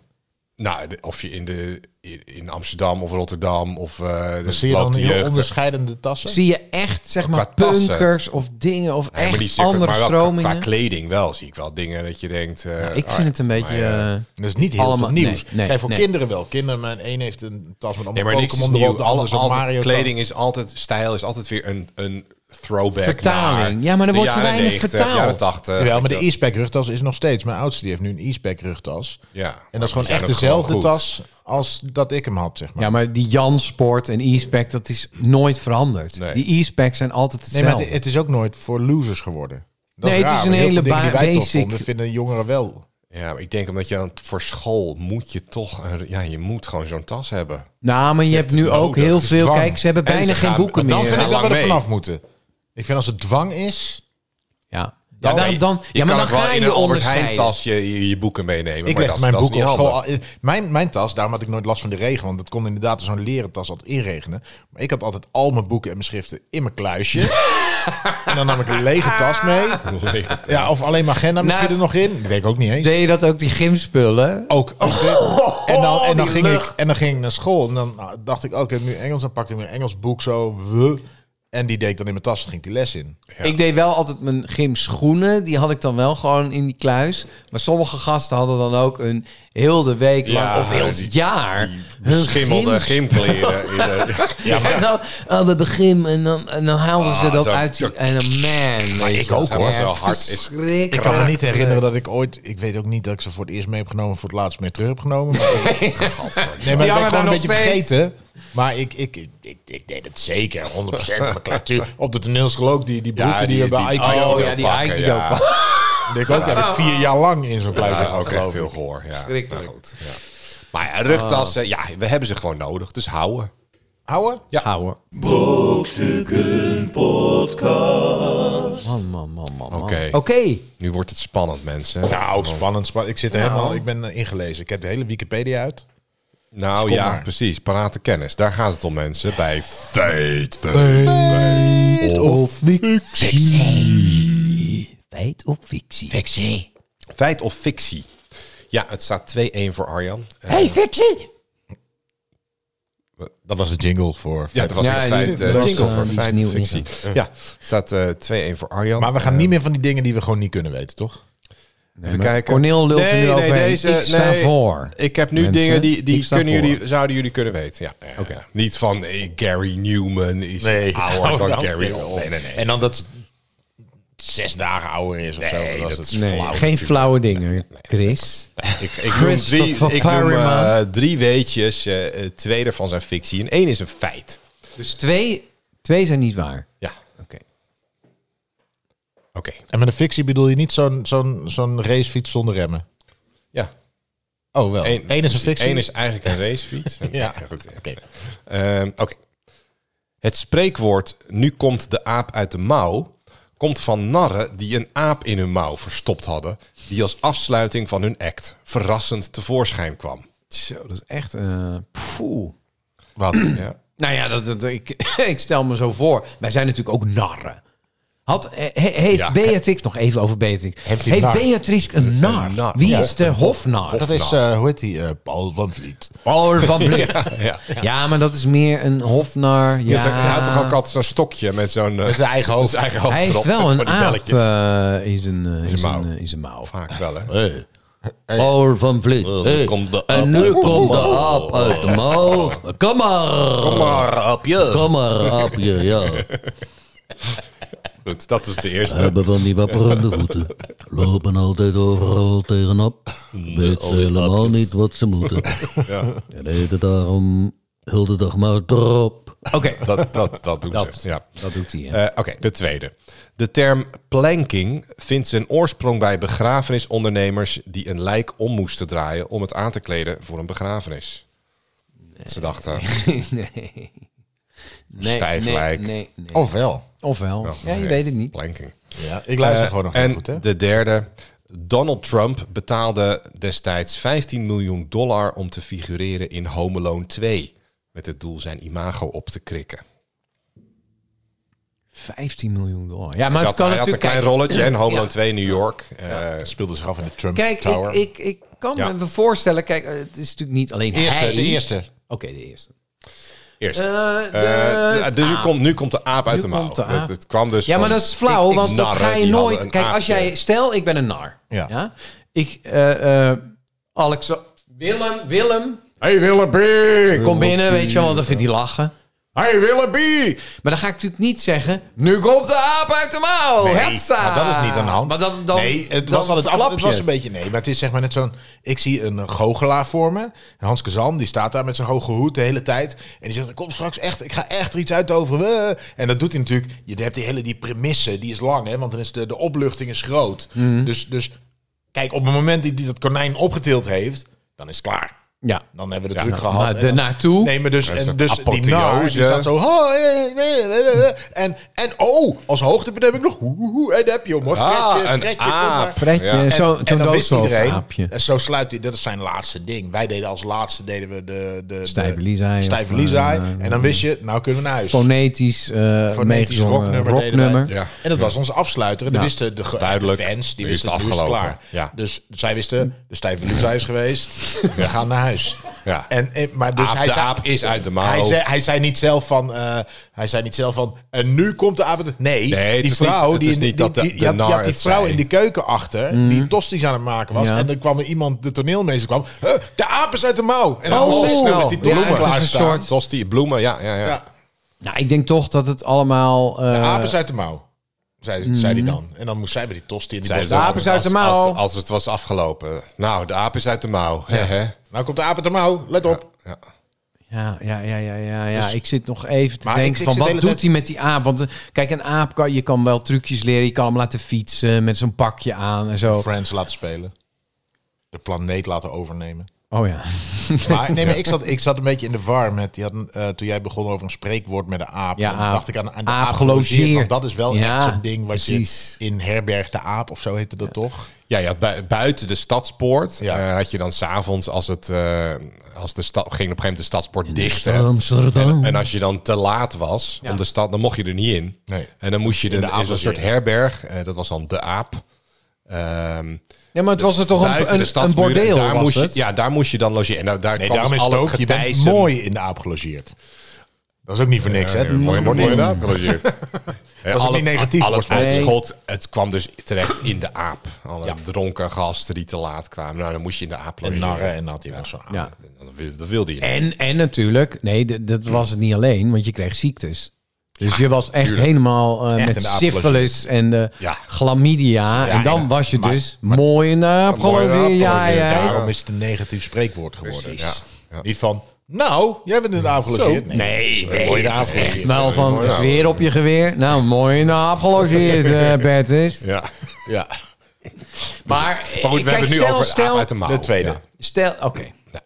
Speaker 2: Nou, de- of je in, de, in- in Amsterdam of Rotterdam of eh de
Speaker 3: Zie je dan
Speaker 2: blote
Speaker 3: heel
Speaker 2: jeugd.
Speaker 3: onderscheidende tassen?
Speaker 4: zie je echt, zeg maar,
Speaker 2: qua tassen.
Speaker 4: punkers of dingen... of
Speaker 2: Nee, maar die
Speaker 4: echt
Speaker 2: stukken-
Speaker 4: andere
Speaker 2: maar wel qua-
Speaker 4: stromingen? Nou,
Speaker 2: Qua kleding wel zie ik wel dingen dat je denkt... eh,
Speaker 4: ik
Speaker 2: ah,
Speaker 4: vind het een beetje...
Speaker 2: maar, eh,
Speaker 4: eh,
Speaker 3: Dat is niet heel
Speaker 4: Allemaal-
Speaker 3: veel nieuws.
Speaker 4: nee, nee,
Speaker 3: Kijk, voor
Speaker 4: nee.
Speaker 3: kinderen wel. Kinderen, mijn één heeft een tas met
Speaker 2: Nee,
Speaker 3: allemaal
Speaker 2: maar niks is
Speaker 3: Pokémon erop,
Speaker 2: nieuw.
Speaker 3: de
Speaker 2: Alle,
Speaker 3: ander zo'n
Speaker 2: altijd-
Speaker 3: Mario.
Speaker 2: kleding is altijd... Stijl is altijd weer een, een throwback
Speaker 4: Vertaling.
Speaker 2: naar
Speaker 4: Ja, maar er
Speaker 2: de
Speaker 4: wordt te
Speaker 2: jaren
Speaker 4: weinig
Speaker 2: 90,
Speaker 4: vertaald.
Speaker 2: jaren 80.
Speaker 3: Jawel, maar
Speaker 2: weet
Speaker 3: de
Speaker 2: je wel.
Speaker 3: e-spec rugtas is nog steeds. Mijn oudste die heeft nu een e-spec rugtas.
Speaker 2: Ja,
Speaker 3: En
Speaker 2: maar
Speaker 3: dat
Speaker 2: die
Speaker 3: is gewoon
Speaker 2: zijn
Speaker 3: echt
Speaker 2: ook gewoon
Speaker 3: dezelfde
Speaker 2: goed.
Speaker 3: tas als dat ik hem had, zeg maar.
Speaker 4: Ja, maar die Jansport en e-spec, dat is nooit veranderd.
Speaker 2: Nee.
Speaker 4: Die e-specs zijn altijd
Speaker 3: nee,
Speaker 4: hetzelfde.
Speaker 3: maar het, het is ook nooit voor losers geworden. Dat
Speaker 4: Nee,
Speaker 3: is
Speaker 4: het
Speaker 3: raar,
Speaker 4: is een
Speaker 3: want heel
Speaker 4: hele
Speaker 3: veel dingen die
Speaker 4: ba-
Speaker 3: wij tof
Speaker 4: basic-
Speaker 3: vonden, vinden jongeren wel.
Speaker 2: Ja, maar ik denk omdat je aan, voor school moet je toch... een- ja, je moet gewoon zo'n tas hebben.
Speaker 4: Nou, maar je hebt nu
Speaker 2: nodig.
Speaker 4: ook heel
Speaker 2: Het is
Speaker 4: veel...
Speaker 2: dwang.
Speaker 4: Kijk, ze hebben
Speaker 2: En ze
Speaker 4: bijna geen
Speaker 2: gaan-
Speaker 4: boeken
Speaker 2: dan
Speaker 4: meer.
Speaker 3: Dan
Speaker 2: Ja,
Speaker 3: vind ik dat
Speaker 2: lang
Speaker 3: we er
Speaker 2: mee.
Speaker 3: vanaf moeten. Ik vind als het dwang is...
Speaker 4: Ja. Dan, ja,
Speaker 2: Nee,
Speaker 4: dan, dan, ja, maar
Speaker 2: kan
Speaker 4: dan
Speaker 2: ook wel
Speaker 4: ga
Speaker 2: in
Speaker 4: je
Speaker 2: een Albert Heijn
Speaker 4: onderscheiden.
Speaker 2: tas je, je, je boeken meenemen.
Speaker 3: Ik
Speaker 2: maar
Speaker 3: leg
Speaker 2: dat,
Speaker 3: mijn
Speaker 2: dat is
Speaker 3: boeken op
Speaker 2: niet
Speaker 3: school.
Speaker 2: handig.
Speaker 3: al- eh, Mijn, mijn tas, daarom had ik nooit last van de regen. Want het kon inderdaad zo'n leren tas altijd inregenen. Maar ik had altijd al mijn boeken en mijn schriften in mijn kluisje. en dan nam ik een lege tas mee. Ja, of alleen mijn agenda misschien
Speaker 4: Naast-
Speaker 3: er nog in. Ik denk ook niet eens.
Speaker 4: Deed je dat ook, die gymspullen?
Speaker 3: Ook. ook
Speaker 2: Oh,
Speaker 3: dit. en dan, en dan,
Speaker 4: die
Speaker 3: ging ik,
Speaker 4: lucht.
Speaker 3: en dan ging ik naar school. En dan nou, dacht ik, oh, ik heb nu Engels. Dan pakte ik mijn Engels boek zo. wuh. En die deed ik dan in mijn tas. Dan ging die les in.
Speaker 4: Ik deed wel altijd mijn gymschoenen. Die had ik dan wel gewoon in die kluis. Maar sommige gasten hadden dan ook een heel de week lang
Speaker 2: Ja,
Speaker 4: of heel het
Speaker 2: die-
Speaker 4: jaar. hun
Speaker 2: Schimmelde
Speaker 4: gyms-
Speaker 2: eh, gymkleren. in de-
Speaker 4: Ja, maar zo, oh, we hebben gym. En dan, en dan haalden ze
Speaker 2: Ah,
Speaker 4: dat
Speaker 2: zo-
Speaker 4: uit. Die, en een man. weet
Speaker 2: ik
Speaker 4: je,
Speaker 2: ook, hoor.
Speaker 4: echt
Speaker 2: Zo hard is-
Speaker 4: verschrikkelijk.
Speaker 3: Ik kan me niet herinneren dat ik ooit... Ik weet ook niet dat ik ze voor het eerst mee heb genomen... voor het laatst mee terug heb genomen. Maar Nee, maar
Speaker 4: Die
Speaker 3: ik ben
Speaker 4: hangen
Speaker 3: ik gewoon
Speaker 4: daar
Speaker 3: een
Speaker 4: nog
Speaker 3: beetje
Speaker 4: steeds.
Speaker 3: vergeten. Maar ik, ik, ik, ik, ik deed het zeker, 100% mijn klatuur. Op de toneelschool ook, die, die broeken
Speaker 2: Ja,
Speaker 3: die,
Speaker 2: die-
Speaker 3: we bij
Speaker 2: die-
Speaker 3: Icon
Speaker 2: oh,
Speaker 4: Oh
Speaker 3: hadden.
Speaker 4: ja, die
Speaker 2: pakken,
Speaker 4: Aikido.
Speaker 2: ja.
Speaker 4: pakken.
Speaker 3: Die ik ook heb ik vier jaar lang in zo'n kluitje
Speaker 2: Ja,
Speaker 3: gehad,
Speaker 2: ook echt
Speaker 3: geloof ik.
Speaker 2: heel goor. Ja.
Speaker 4: Verschrikkelijk.
Speaker 2: Maar goed, ja. Maar ja, rugtassen, ja, we hebben ze gewoon nodig. Dus houden.
Speaker 3: Houden?
Speaker 4: Ouwe.
Speaker 1: Brokstukken Podcast.
Speaker 4: Man, man, man, man. man.
Speaker 2: Oké.
Speaker 4: Oké.
Speaker 2: Nu wordt het spannend, mensen.
Speaker 3: Nou, spannend, spannend. Ik zit er helemaal... Ik ben eh, ingelezen. Ik heb de hele Wikipedia uit.
Speaker 2: Nou
Speaker 3: kom
Speaker 2: ja,
Speaker 3: maar.
Speaker 2: precies. Parate kennis. Daar gaat het om, mensen. Bij feit.
Speaker 3: Of
Speaker 4: Feit of fictie?
Speaker 2: Fictie. Feit of fictie. Ja, het staat 2-1 voor Arjan. Eh,
Speaker 4: Hey, fictie!
Speaker 3: Dat was de jingle voor...
Speaker 2: ja, dat was
Speaker 4: Ja,
Speaker 2: het
Speaker 4: die-
Speaker 2: feit.
Speaker 4: die
Speaker 2: eh,
Speaker 4: was,
Speaker 2: jingle
Speaker 4: eh,
Speaker 2: voor
Speaker 4: die is
Speaker 2: feit
Speaker 4: nieuw
Speaker 2: of fictie. Ja, het staat eh, 2-1 voor Arjan.
Speaker 3: Maar we gaan
Speaker 2: Eh,
Speaker 3: niet meer van die dingen die we gewoon niet kunnen weten, toch?
Speaker 4: Nee, maar
Speaker 2: kijken.
Speaker 4: Cornel lult er nu over. ik sta
Speaker 2: nee.
Speaker 4: voor.
Speaker 2: Ik heb nu
Speaker 4: Mensen,
Speaker 2: dingen die,
Speaker 4: ik
Speaker 2: die
Speaker 4: sta
Speaker 2: kunnen
Speaker 4: voor.
Speaker 2: jullie, zouden jullie kunnen weten. Ja. Eh,
Speaker 4: Oké.
Speaker 2: Niet van eh, Gary Newman is
Speaker 3: Nee.
Speaker 2: ouder dan
Speaker 3: Nou,
Speaker 2: Gary.
Speaker 3: nou,
Speaker 2: Nee, nee, nee.
Speaker 3: En dan dat het zes dagen ouder is of zo.
Speaker 2: Nee,
Speaker 3: was
Speaker 2: dat
Speaker 3: het.
Speaker 2: is
Speaker 4: Nee,
Speaker 2: flauw.
Speaker 4: geen flauwe dingen, Chris.
Speaker 2: Ik, ik noem, drie,
Speaker 4: Christopher
Speaker 2: ik noem eh,
Speaker 4: Perryman.
Speaker 2: drie weetjes. eh, eh, twee ervan zijn fictie en één is een feit.
Speaker 4: Dus twee, twee zijn niet waar.
Speaker 2: Ja,
Speaker 4: Oké.
Speaker 2: oké.
Speaker 3: En met een fictie bedoel je niet zo'n zo'n zo'n racefiets zonder remmen?
Speaker 2: Ja.
Speaker 3: Oh, wel.
Speaker 2: Eén-
Speaker 3: Eén, is een fictie.
Speaker 2: Eén is eigenlijk een racefiets. goed. ja.
Speaker 3: Oké.
Speaker 2: Ehm, Oké. Het spreekwoord nu komt de aap uit de mouw komt van narren die een aap in hun mouw verstopt hadden, die als afsluiting van hun act verrassend tevoorschijn kwam.
Speaker 4: Zo, dat is echt... eh poeh.
Speaker 3: Wat?
Speaker 2: Ja.
Speaker 4: Nou ja, dat, dat, ik, ik stel me zo voor. Wij zijn natuurlijk ook narren. Had, eh, he- heeft
Speaker 2: Ja,
Speaker 4: Beatrix, nog even over Beatrix. Heeft,
Speaker 3: die nar?
Speaker 4: Beatrix een nar?
Speaker 2: nar.
Speaker 4: Wie
Speaker 2: Ja,
Speaker 4: is de hofnar?
Speaker 3: Dat is, eh, hoe heet die? eh, Paul van Vliet.
Speaker 4: Paul van Vliet. ja,
Speaker 2: ja.
Speaker 4: maar dat is meer een hofnar.
Speaker 2: Je
Speaker 4: Ja.
Speaker 2: hebt toch- hij had toch ook altijd zo'n stokje met zo'n... eh,
Speaker 3: zijn eigen hoofd.
Speaker 2: Zijn eigen hoofd
Speaker 4: hij
Speaker 2: erop,
Speaker 4: heeft wel
Speaker 2: met van
Speaker 4: een
Speaker 2: die
Speaker 4: aap
Speaker 2: belletjes.
Speaker 4: eh, in zijn, eh, in
Speaker 2: mouw.
Speaker 4: zijn, eh, in zijn mouw.
Speaker 2: Vaak wel, hè?
Speaker 4: Hey. Paul van Vliet. Hey.
Speaker 2: Eh, komt de aap
Speaker 4: En nu
Speaker 2: uit de
Speaker 4: komt de
Speaker 2: mouw. Oh.
Speaker 4: aap uit de mouw. Kom maar.
Speaker 2: Kom maar, aapje.
Speaker 4: Kom maar, aapje. Ja.
Speaker 2: Goed, dat is de
Speaker 5: We
Speaker 2: eerste.
Speaker 5: hebben van die wapperende voeten. Lopen altijd overal tegenop.
Speaker 2: Mm,
Speaker 5: Weet ze helemaal niet wat ze moeten. En eten daarom heel de dag maar drop.
Speaker 4: Oké,
Speaker 2: Dat, dat, dat doen
Speaker 4: Dat.
Speaker 2: ze, ja.
Speaker 4: dat doet hij. hè.
Speaker 2: Eh, Oké, de tweede. De term planking vindt zijn oorsprong bij begrafenisondernemers die een lijk om moesten draaien om het aan te kleden voor een begrafenis. Ze dachten,
Speaker 4: nee.
Speaker 2: Eh. Stijf
Speaker 4: nee,
Speaker 2: lijk.
Speaker 4: Nee, nee.
Speaker 3: Ofwel.
Speaker 4: Ofwel. ja, je weet het niet.
Speaker 2: planking. Eh,
Speaker 3: Ja, Oh, Eh, ik luister gewoon nog
Speaker 2: en
Speaker 3: heel goed, hè?
Speaker 2: de derde. Donald Trump betaalde destijds 15 miljoen dollar om te figureren in Home Alone 2. Met het doel zijn imago op te krikken.
Speaker 4: 15 miljoen dollar. Ja, maar
Speaker 2: Hij had,
Speaker 4: het kan
Speaker 2: hij had een
Speaker 4: natuurlijk...
Speaker 2: klein
Speaker 4: kijk,
Speaker 2: rolletje en Home Alone 2 in New York. Eh,
Speaker 3: Het speelde zich af in de Trump
Speaker 4: Kijk,
Speaker 3: Tower.
Speaker 4: ik, ik, ik kan
Speaker 2: Ja.
Speaker 4: me voorstellen... Kijk, eh, het is natuurlijk niet alleen
Speaker 3: Eerste,
Speaker 4: hij.
Speaker 3: de eerste.
Speaker 4: Oké, de eerste.
Speaker 2: Eerst.
Speaker 4: de
Speaker 2: Eh, de- de- nu,
Speaker 4: aap.
Speaker 2: komt, nu komt de aap uit
Speaker 4: ah. Nu
Speaker 2: de mouw.
Speaker 4: komt de aap.
Speaker 2: het, het kwam dus
Speaker 4: Ja, maar
Speaker 2: van-
Speaker 4: dat is flauw,
Speaker 2: ik-
Speaker 4: want dat
Speaker 2: narren
Speaker 4: ga je
Speaker 2: die
Speaker 4: nooit...
Speaker 2: hadden een
Speaker 4: Kijk, als
Speaker 2: aapje.
Speaker 4: jij... Stel, ik ben een nar.
Speaker 3: Ja.
Speaker 4: Ik... eh eh Alex... Willem, Willem...
Speaker 3: Hey Willoughby!
Speaker 4: Kom binnen, weet je wel, want dan vindt hij lachen.
Speaker 3: Hey Willoughby!
Speaker 4: Maar dan ga ik natuurlijk niet zeggen... Nu komt de aap uit de mouw!
Speaker 3: Nee,
Speaker 4: Hetsa!
Speaker 3: nou, dat is niet aan de hand.
Speaker 4: Maar dan, dan,
Speaker 3: nee, het
Speaker 4: dan
Speaker 3: was altijd af,
Speaker 4: verklap
Speaker 3: het
Speaker 4: je
Speaker 3: was een
Speaker 4: het.
Speaker 3: beetje... Nee, maar het is zeg maar net zo'n... Ik zie een goochelaar voor me. Hans Kazan, die staat daar met zijn hoge hoed de hele tijd. En die zegt, kom straks echt, ik ga echt er iets uit over. eh." En dat doet hij natuurlijk. Je hebt die hele die premisse, die is lang, hè. Want dan is de, de opluchting is groot.
Speaker 4: Mhm.
Speaker 3: Dus, dus kijk, op het moment dat hij dat konijn opgetild heeft... dan is het klaar.
Speaker 4: Ja.
Speaker 3: Dan hebben we de truc
Speaker 4: Nou,
Speaker 3: gehad.
Speaker 4: Maar
Speaker 3: En
Speaker 4: de
Speaker 3: dan-
Speaker 4: naartoe...
Speaker 3: Nee, maar dus,
Speaker 2: is
Speaker 3: en
Speaker 2: dat
Speaker 3: dus die
Speaker 2: apotheose.
Speaker 3: nar, die staat zo... "Ha, eh, eh, eh, eh." En, en oh, als hoogtepunt heb ik nog... hoe, hoe, hoe, En dan heb je hem hoor.
Speaker 2: Ah,
Speaker 3: Fredje,
Speaker 2: een
Speaker 3: Fredje, kom
Speaker 2: aap.
Speaker 3: maar.
Speaker 4: Fredje,
Speaker 2: Ja.
Speaker 4: zo-
Speaker 2: En-
Speaker 4: zo'n
Speaker 3: en dan wist iedereen.
Speaker 4: doodstoofdaapje.
Speaker 3: En zo sluit hij. Dat is zijn laatste ding. Wij deden als laatste deden we de... de
Speaker 4: Stijve
Speaker 3: de-
Speaker 4: Liesei of,
Speaker 3: Stijve Liesei.
Speaker 4: eh,
Speaker 3: en dan wist je, nou kunnen we naar huis.
Speaker 4: Fonetisch, eh
Speaker 3: Fonetisch
Speaker 4: meegezongen
Speaker 3: rocknummer deden
Speaker 4: rocknummer.
Speaker 3: wij.
Speaker 2: Ja.
Speaker 3: En dat was onze afsluiter. En dan wisten de, ge-
Speaker 2: duidelijk.
Speaker 3: de fans, die
Speaker 2: Nu is
Speaker 3: wisten
Speaker 2: het
Speaker 3: nu is het
Speaker 2: afgelopen.
Speaker 3: klaar.
Speaker 2: Ja.
Speaker 3: Dus zij wisten, de stijve Liesei is geweest. We gaan naar huis.
Speaker 2: Ja.
Speaker 3: En, en, maar dus
Speaker 2: Aap,
Speaker 3: hij
Speaker 2: de
Speaker 3: zei-
Speaker 2: aap is uit de mouw.
Speaker 3: Hij zei, hij zei niet zelf van. eh, hij zei niet zelf van. En nu komt de avond. Nee,
Speaker 2: Nee, het
Speaker 3: die
Speaker 2: is niet-
Speaker 3: vrouw.
Speaker 2: het
Speaker 3: die
Speaker 2: is
Speaker 3: in de-
Speaker 2: niet dat de-
Speaker 3: die, die,
Speaker 2: de
Speaker 3: had, die
Speaker 2: nar
Speaker 3: had die
Speaker 2: het
Speaker 3: vrouw
Speaker 2: zei.
Speaker 3: in de keuken achter. die tosti's aan het maken was.
Speaker 4: Mm. Ja.
Speaker 3: En dan kwam er iemand, de toneelmeester kwam. "Huh, de aap is uit de mouw. En dan
Speaker 4: Oh,
Speaker 3: was hij snel met die
Speaker 4: ja, het
Speaker 3: tosti
Speaker 4: is een
Speaker 3: klaarstaan.
Speaker 4: soort-
Speaker 2: Tosti, bloemen, ja, ja, ja.
Speaker 3: Ja,
Speaker 4: Nou, ik denk toch dat het allemaal... eh, Mhm.
Speaker 3: de aap is uit de mouw. Zei, zei hij dan. En dan moest zij met die tosti in die
Speaker 2: Zeiden
Speaker 3: bos-
Speaker 2: ze
Speaker 4: aap
Speaker 2: altijd
Speaker 4: is uit Dus de
Speaker 2: als-
Speaker 4: mouw.
Speaker 2: Als, als het was afgelopen. Nou, de aap is uit de mouw. hè, hè.
Speaker 3: Nou komt de aap uit de mouw. Let op.
Speaker 2: Ja.
Speaker 4: Ja, ja, ja, ja, ja, ja. ik zit nog even te
Speaker 3: Maar ik-
Speaker 4: denken
Speaker 3: ik zit
Speaker 4: van
Speaker 3: de
Speaker 4: wat
Speaker 3: hele
Speaker 4: doet
Speaker 3: tijd-
Speaker 4: hij met die aap? Want eh, kijk, een aap kan je kan wel trucjes leren. Je kan hem laten fietsen met zo'n pakje aan en zo.
Speaker 3: Friends laten spelen. De planeet laten overnemen.
Speaker 4: Oh ja.
Speaker 3: Maar, nee, maar ik zat, ik zat een beetje in de war met... Die had een, eh, toen jij begon over een spreekwoord met de aap...
Speaker 4: Ja,
Speaker 3: dan
Speaker 4: aap.
Speaker 3: dacht ik aan, aan de
Speaker 4: Aap
Speaker 3: aap, gelogeerd.
Speaker 4: gelogeerd.
Speaker 3: Want dat is wel
Speaker 4: Ja,
Speaker 3: echt zo'n ding wat
Speaker 4: precies.
Speaker 3: je... In herberg de aap of zo heette dat toch?
Speaker 2: Ja, je had bui- buiten de stadspoort
Speaker 3: Ja.
Speaker 2: eh, had je dan s'avonds als het eh, als de stad ging op een gegeven moment de stadspoort dicht. hè.
Speaker 5: Amsterdam.
Speaker 2: En als je dan te laat was om de stad, dan mocht je er niet in.
Speaker 3: Nee.
Speaker 2: En dan moest je in,
Speaker 3: de
Speaker 2: in zo'n
Speaker 3: avond
Speaker 2: soort
Speaker 3: weer.
Speaker 2: herberg. eh, dat was dan de aap. Ehm,
Speaker 4: Ja, maar het was er toch
Speaker 2: buiten
Speaker 4: een,
Speaker 2: de
Speaker 4: een, een
Speaker 2: stadsmuren.
Speaker 4: bordeel
Speaker 2: Daar
Speaker 4: was
Speaker 2: moest
Speaker 4: het?
Speaker 2: Je, ja, daar moest je dan logeren. En daar, daar
Speaker 3: Nee,
Speaker 2: kwam
Speaker 3: daarom is
Speaker 2: dus
Speaker 3: het
Speaker 2: al
Speaker 3: ook... Je bent
Speaker 2: getijzen.
Speaker 3: mooi in de aap gelogeerd. Dat is ook niet voor niks, hè? Dat
Speaker 2: Mooi,
Speaker 3: was
Speaker 2: mooi in de
Speaker 3: een-
Speaker 2: aap gelogeerd. Dat
Speaker 3: ook niet negatief,
Speaker 2: Al het
Speaker 3: volgens mij.
Speaker 2: uitschot, het kwam dus terecht in de aap. Alle dronken gasten die te laat kwamen. Nou, dan moest je in de aap
Speaker 3: En
Speaker 2: logeren.
Speaker 3: narren en dat. die was zo'n aap.
Speaker 4: Ja.
Speaker 2: Dat wil- Dat wilde je niet.
Speaker 4: En, en natuurlijk, nee, d- dat was het niet alleen, want je kreeg ziektes. Dus je was echt helemaal eh,
Speaker 3: Echt
Speaker 4: met
Speaker 3: in de
Speaker 4: syphilis en de
Speaker 2: Ja.
Speaker 4: chlamydia. en dan
Speaker 3: ja.
Speaker 4: was je
Speaker 3: Maar-
Speaker 4: dus mooi in de aap,
Speaker 2: mooi in de
Speaker 4: geloof je?
Speaker 2: aap,
Speaker 4: Ja,
Speaker 2: geloof je.
Speaker 4: ja.
Speaker 3: Daarom is het een negatief spreekwoord geworden.
Speaker 2: Precies.
Speaker 3: Ja. Niet van... Nou, jij bent in de aap gelogeerd. Nee, nee, mooi in de aap
Speaker 4: Echt
Speaker 3: gelogeerd.
Speaker 4: wel van, is weer op je geweer. Nou, mooi in de aap gelogeerd, eh, Bertus.
Speaker 2: Ja.
Speaker 3: Ja.
Speaker 4: Maar, eh,
Speaker 2: Dus Maar goed, we
Speaker 4: kijk,
Speaker 2: hebben het nu
Speaker 4: stel,
Speaker 2: over de aap
Speaker 4: stel,
Speaker 2: uit de mouw.
Speaker 3: De tweede.
Speaker 2: Ja.
Speaker 4: stel, oké.
Speaker 2: Ja.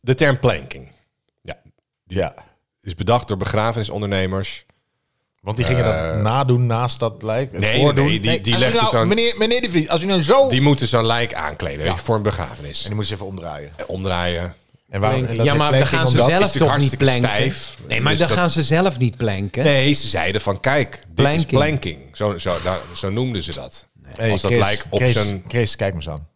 Speaker 2: De term planking. Ja.
Speaker 3: Ja.
Speaker 2: Is bedacht door begrafenisondernemers.
Speaker 3: Want die gingen dat nadoen naast dat lijk.
Speaker 2: Eh, nee,
Speaker 3: voordoen.
Speaker 2: nee, die- die
Speaker 3: als u
Speaker 2: legden
Speaker 3: nou-
Speaker 2: zo'n-
Speaker 3: Meneer, meneer de Vries, als u nou zo...
Speaker 2: Die moeten zo'n lijk aankleden weet je, voor een begrafenis.
Speaker 3: En die moest even omdraaien.
Speaker 2: omdraaien.
Speaker 3: En waarom, en dat
Speaker 4: ja,
Speaker 3: heet
Speaker 4: maar dan
Speaker 3: planking
Speaker 4: gaan ze
Speaker 3: omdat-
Speaker 2: is
Speaker 4: zelf
Speaker 2: natuurlijk
Speaker 4: toch niet
Speaker 2: hartstikke
Speaker 4: planken.
Speaker 2: stijf.
Speaker 4: Nee, maar
Speaker 2: Dus
Speaker 4: dan
Speaker 2: dat-
Speaker 4: gaan ze zelf niet planken.
Speaker 2: Nee, ze zeiden van kijk, dit is
Speaker 4: Planking.
Speaker 2: planking. Zo, zo, nou, zo noemden ze dat.
Speaker 3: Hey,
Speaker 2: Als dat
Speaker 3: Chris,
Speaker 2: lijkt op
Speaker 3: Chris,
Speaker 2: zijn...
Speaker 3: Chris, kijk me eens aan.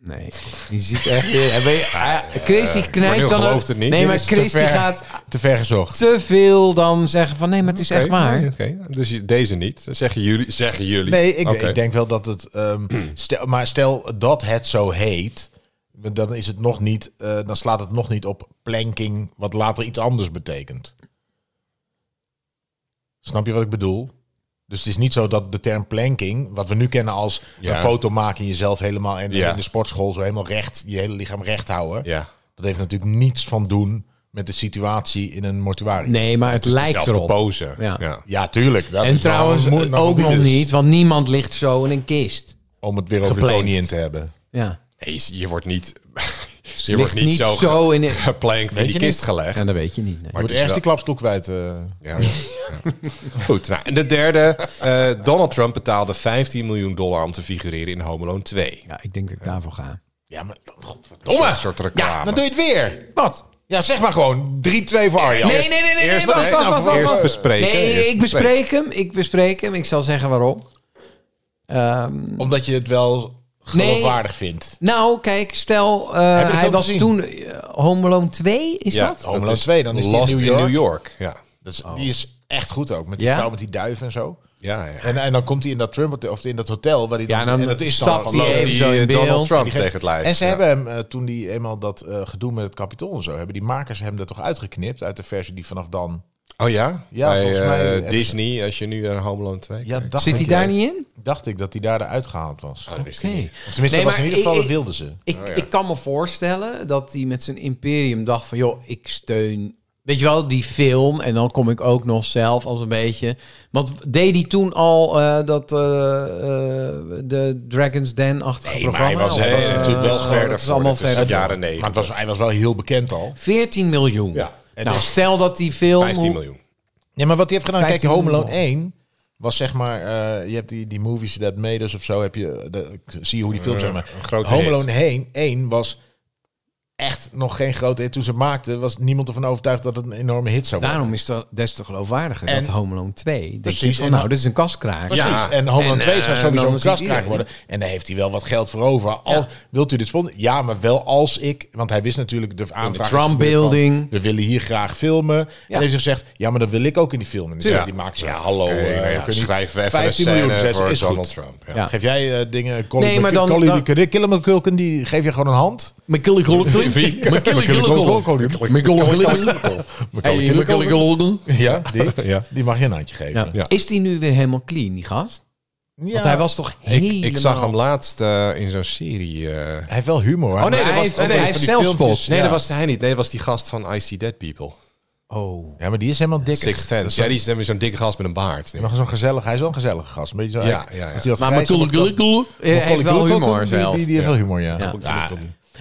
Speaker 4: Nee, die zit echt weer. en ben je- ah, Chris die knijpt dan.
Speaker 2: gelooft
Speaker 4: ook-
Speaker 2: het niet.
Speaker 4: Nee,
Speaker 2: Dit
Speaker 4: maar
Speaker 2: is
Speaker 4: Chris die gaat
Speaker 3: Te ver gezocht.
Speaker 4: te veel dan zeggen van nee, maar het is echt
Speaker 2: Oké,
Speaker 4: waar.
Speaker 2: nee, oké. Dus je- deze niet. Dat zeggen jullie. Zeggen jullie.
Speaker 3: Nee, ik,
Speaker 2: Oké.
Speaker 3: ik denk wel dat het... ehm, stel, maar stel dat het zo heet, dan, is het nog niet, eh, dan slaat het nog niet op planking, wat later iets anders betekent. Snap je wat ik bedoel? Dus het is niet zo dat de term planking, wat we nu kennen als
Speaker 2: Ja.
Speaker 3: een foto maken en jezelf helemaal en
Speaker 2: Ja.
Speaker 3: in de sportschool zo helemaal recht, je hele lichaam recht houden.
Speaker 2: Ja.
Speaker 3: Dat heeft natuurlijk niets van doen met de situatie in een mortuarium.
Speaker 4: Nee, maar het,
Speaker 2: Het is
Speaker 4: lijkt
Speaker 2: dezelfde
Speaker 4: erop.
Speaker 2: pose.
Speaker 4: Ja.
Speaker 2: Ja. dus
Speaker 3: Ja, tuurlijk. Dat
Speaker 4: En
Speaker 3: is
Speaker 4: trouwens
Speaker 3: wel een moe-
Speaker 4: ook nog
Speaker 3: moeilijk.
Speaker 4: niet, want niemand ligt zo in een kist.
Speaker 3: Om het weer over
Speaker 4: gepland.
Speaker 3: de in te hebben.
Speaker 4: Ja.
Speaker 2: Nee, je wordt niet... Je
Speaker 4: Ligt
Speaker 2: wordt niet zo, ge-
Speaker 4: zo in een.
Speaker 2: geplankt in
Speaker 3: Weet
Speaker 2: die
Speaker 3: je
Speaker 2: kist
Speaker 3: niet?
Speaker 2: gelegd.
Speaker 4: Ja, dat weet je niet. nee.
Speaker 3: Je moet
Speaker 2: het is
Speaker 3: ergens die klapstoel kwijt. eh.
Speaker 2: Ja. Ja. Goed, nou, en de derde. eh, Donald Trump betaalde 15 miljoen dollar om te figureren in Home Alone 2.
Speaker 4: Ja, ik denk dat ik daarvoor ga.
Speaker 3: Ja, maar god,
Speaker 2: Domme! Een
Speaker 4: eh,
Speaker 2: soort reclame.
Speaker 3: dan doe je het weer.
Speaker 4: Wat?
Speaker 3: Ja, zeg maar gewoon 3-2 voor Arjan.
Speaker 4: Nee, nee, nee, nee, nee,
Speaker 3: Eerst-
Speaker 4: wacht,
Speaker 3: nee,
Speaker 4: wacht,
Speaker 3: nou,
Speaker 4: wacht, wacht,
Speaker 2: eerst
Speaker 4: wacht.
Speaker 2: bespreken,
Speaker 4: Nee,
Speaker 2: eerst
Speaker 4: ik bespreek hem. Ik bespreek hem. Ik zal zeggen waarom. Ehm,
Speaker 3: Omdat je het wel
Speaker 4: Nee.
Speaker 3: geloofwaardig vindt.
Speaker 4: nou, kijk, stel, eh,
Speaker 3: je het
Speaker 4: hij
Speaker 3: al
Speaker 4: was
Speaker 3: gezien? Oh,
Speaker 4: toen eh, Home Alone 2, is
Speaker 2: Ja,
Speaker 4: dat?
Speaker 3: Home
Speaker 2: dat
Speaker 3: Alone 2, dan is die in
Speaker 2: Lost
Speaker 3: New York.
Speaker 2: Ja.
Speaker 3: Dat is, Die is echt goed ook. Met die
Speaker 4: Oh. Ja?
Speaker 3: vrouw met die duif en zo.
Speaker 2: Ja, ja.
Speaker 3: En, en dan komt hij in dat Trump of in dat hotel waar hij dan,
Speaker 4: Ja, dan
Speaker 3: en dat is
Speaker 4: stapt
Speaker 3: dan van
Speaker 4: hij even
Speaker 2: Loopt
Speaker 3: Lotte.
Speaker 4: zo in
Speaker 2: die eh, Donald
Speaker 4: beeld.
Speaker 2: Trump
Speaker 3: Die ge-
Speaker 2: tegen het lijf.
Speaker 3: En ze
Speaker 2: ja.
Speaker 3: hebben hem, eh, toen die eenmaal dat eh, gedoe met het kapitool en zo, hebben die makers hem er toch uitgeknipt uit de versie die vanaf dan...
Speaker 2: Oh ja?
Speaker 3: Ja,
Speaker 2: Bij,
Speaker 3: volgens mij
Speaker 2: eh,
Speaker 3: hebben ze-
Speaker 2: Disney, als je nu naar Home Alone 2
Speaker 3: Ja,
Speaker 2: kijkt.
Speaker 3: dacht
Speaker 4: Zit hij
Speaker 3: ik-
Speaker 4: daar niet in?
Speaker 3: Dacht ik dat hij daar eruit gehaald was.
Speaker 2: Oh, dat wist ik niet.
Speaker 3: Of tenminste,
Speaker 4: Nee,
Speaker 3: dat was
Speaker 4: maar
Speaker 3: in ieder geval,
Speaker 4: ik-
Speaker 3: dat wilden ze.
Speaker 4: Ik,
Speaker 2: Oh,
Speaker 4: ik kan me voorstellen dat hij met zijn imperium dacht van... joh, ik steun... Weet je wel, die film. En dan kom ik ook nog zelf als een beetje... Want deed hij toen al eh, dat... eh, eh, de Dragon's Den-achtige
Speaker 3: Nee, maar
Speaker 4: programma?
Speaker 3: hij was- hij
Speaker 4: Of,
Speaker 2: Nee,
Speaker 3: was
Speaker 4: eh,
Speaker 3: natuurlijk
Speaker 2: dat
Speaker 3: wel dus-
Speaker 2: is
Speaker 4: dat
Speaker 2: verder
Speaker 4: is allemaal
Speaker 2: voor. Dat is
Speaker 4: verder.
Speaker 2: jaren
Speaker 3: Maar het
Speaker 2: 90.
Speaker 3: was, hij was wel heel bekend al.
Speaker 4: 14 miljoen.
Speaker 2: Ja.
Speaker 3: En
Speaker 4: nou,
Speaker 3: dus-
Speaker 4: stel dat die film...
Speaker 2: 15 miljoen.
Speaker 3: Ja, maar wat hij heeft gedaan, kijk,
Speaker 4: 15
Speaker 3: Home Alone
Speaker 4: miljoen.
Speaker 3: 1 was zeg maar, eh, je hebt die, die movies that made us of zo, heb je, de, zie je hoe die films zijn. maar
Speaker 2: Eh, een grote
Speaker 3: Home
Speaker 2: hit.
Speaker 3: Alone 1, 1 was echt nog geen grote hit. Toen ze het maakten, was niemand ervan overtuigd dat het een enorme hit zou worden.
Speaker 4: Daarom is dat des te geloofwaardiger
Speaker 3: En-
Speaker 4: dat Home Alone 2... Denk
Speaker 3: Precies,
Speaker 4: je van,
Speaker 3: en-
Speaker 4: nou, dit is een kaskraak.
Speaker 3: Precies,
Speaker 2: Ja.
Speaker 3: en Home Alone
Speaker 4: En,
Speaker 3: 2 zou
Speaker 4: eh,
Speaker 3: sowieso
Speaker 4: dan
Speaker 3: een
Speaker 4: ziet
Speaker 3: kraskraak
Speaker 4: iedereen.
Speaker 3: worden. En daar heeft hij wel wat geld voor over. Al,
Speaker 4: Ja.
Speaker 3: Wilt u dit sponsoren? Ja, maar wel als ik... Want hij wist natuurlijk de aanvraag... is
Speaker 4: Trump
Speaker 3: gebeurd van,
Speaker 4: building.
Speaker 3: We willen hier graag filmen. En heeft ze gezegd, ja, maar dat wil ik ook in die film. En die zei, die maakt ze.
Speaker 2: Ja, hallo.
Speaker 3: Oké,
Speaker 2: eh,
Speaker 3: nou ja, kun
Speaker 2: ja,
Speaker 3: je niet-
Speaker 2: schrijf even een
Speaker 3: 15 miljoen
Speaker 2: scène
Speaker 3: zes
Speaker 2: voor
Speaker 3: is
Speaker 2: Donald
Speaker 3: goed.
Speaker 2: Trump. Ja.
Speaker 4: Ja.
Speaker 3: Geef jij eh, dingen... Colin
Speaker 4: Nee, maar
Speaker 3: Mc-
Speaker 4: dan-
Speaker 3: Colin
Speaker 4: dan-
Speaker 3: de Killen McCulkin, die geef je gewoon een hand.
Speaker 4: McKillie Culkin.
Speaker 3: McCulkin. Ja, die,
Speaker 2: Ja.
Speaker 3: die mag je een handje
Speaker 4: Ja.
Speaker 3: geven.
Speaker 2: Ja.
Speaker 4: Is die nu weer helemaal clean, die gast? Want hij was toch helemaal...
Speaker 2: Ik, ik zag hem laatst eh, in zo'n serie. eh,
Speaker 3: Hij heeft wel humor.
Speaker 2: Oh nee,
Speaker 4: hij
Speaker 2: dat was,
Speaker 4: heeft-
Speaker 2: nee,
Speaker 4: hij
Speaker 2: nee,
Speaker 4: heeft
Speaker 2: van die
Speaker 4: zelfspot.
Speaker 2: filmpjes. Nee,
Speaker 3: Ja.
Speaker 2: dat was hij niet. Nee, dat was die gast van I See Dead People.
Speaker 4: Oh.
Speaker 3: Ja, maar die is helemaal dik.
Speaker 2: Six Sense. Ja, die is dan weer zo'n dikke gast met een baard.
Speaker 3: Nog zo'n gezellig, hij is wel een gezellige gast. Een beetje zo.
Speaker 2: Ja, ja, ja.
Speaker 3: Als hij wat
Speaker 4: Maar
Speaker 3: grijs-
Speaker 4: McCulloch
Speaker 3: Macaulay
Speaker 4: heeft wel
Speaker 3: Culkin,
Speaker 4: humor
Speaker 3: die-
Speaker 4: zelf.
Speaker 3: Die, die heeft wel humor, ja.
Speaker 4: Ja.
Speaker 2: Ja.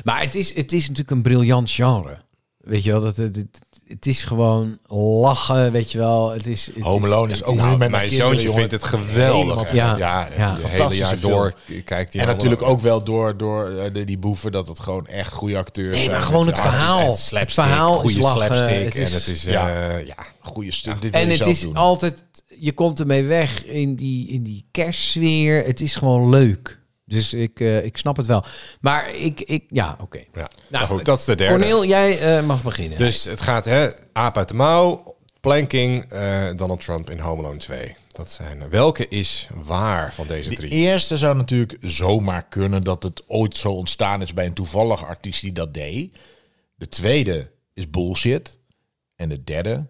Speaker 4: Maar het is, het is natuurlijk een briljant genre. Weet je wel, dat, het, het, het is gewoon lachen, weet je wel. Het is, het
Speaker 3: Home
Speaker 4: is-
Speaker 3: Alone is ook
Speaker 2: Nou,
Speaker 3: met
Speaker 2: mijn zoontje vindt het geweldig.
Speaker 4: Ja.
Speaker 2: ja,
Speaker 4: Ja.
Speaker 2: het hele
Speaker 3: Fantastische
Speaker 2: jaar
Speaker 3: film.
Speaker 2: door kijkt hij
Speaker 3: En natuurlijk
Speaker 2: allemaal.
Speaker 3: ook wel door, door eh, de- die boeven dat het gewoon echt goede acteurs
Speaker 4: Nee,
Speaker 3: zijn.
Speaker 4: maar gewoon het
Speaker 3: Met hart-
Speaker 4: verhaal.
Speaker 2: Het
Speaker 4: Het,
Speaker 2: slapstick,
Speaker 4: verhaal
Speaker 2: goede
Speaker 4: is lachen.
Speaker 2: slapstick.
Speaker 4: het
Speaker 2: en het is, eh,
Speaker 3: ja.
Speaker 2: ja.
Speaker 3: Goede stuk. Dit wil
Speaker 4: en
Speaker 3: je
Speaker 4: het
Speaker 3: zelf
Speaker 4: is
Speaker 3: doen.
Speaker 4: altijd... Je komt ermee weg in die, in die kerstsfeer. Het is gewoon leuk. Dus ik, eh, ik snap het wel. Maar ik... ik ja, oké.
Speaker 2: Ja. Nou, goed, dat is de derde.
Speaker 4: Cornel, jij eh, mag beginnen.
Speaker 2: Dus het gaat, hè, aap uit de mouw, planking, eh, Donald Trump in Home Alone 2. Dat zijn er. Welke is waar van deze
Speaker 3: De
Speaker 2: drie?
Speaker 3: eerste zou natuurlijk zomaar kunnen dat het ooit zo ontstaan is bij een toevallige artiest die dat deed. De tweede is bullshit. En de derde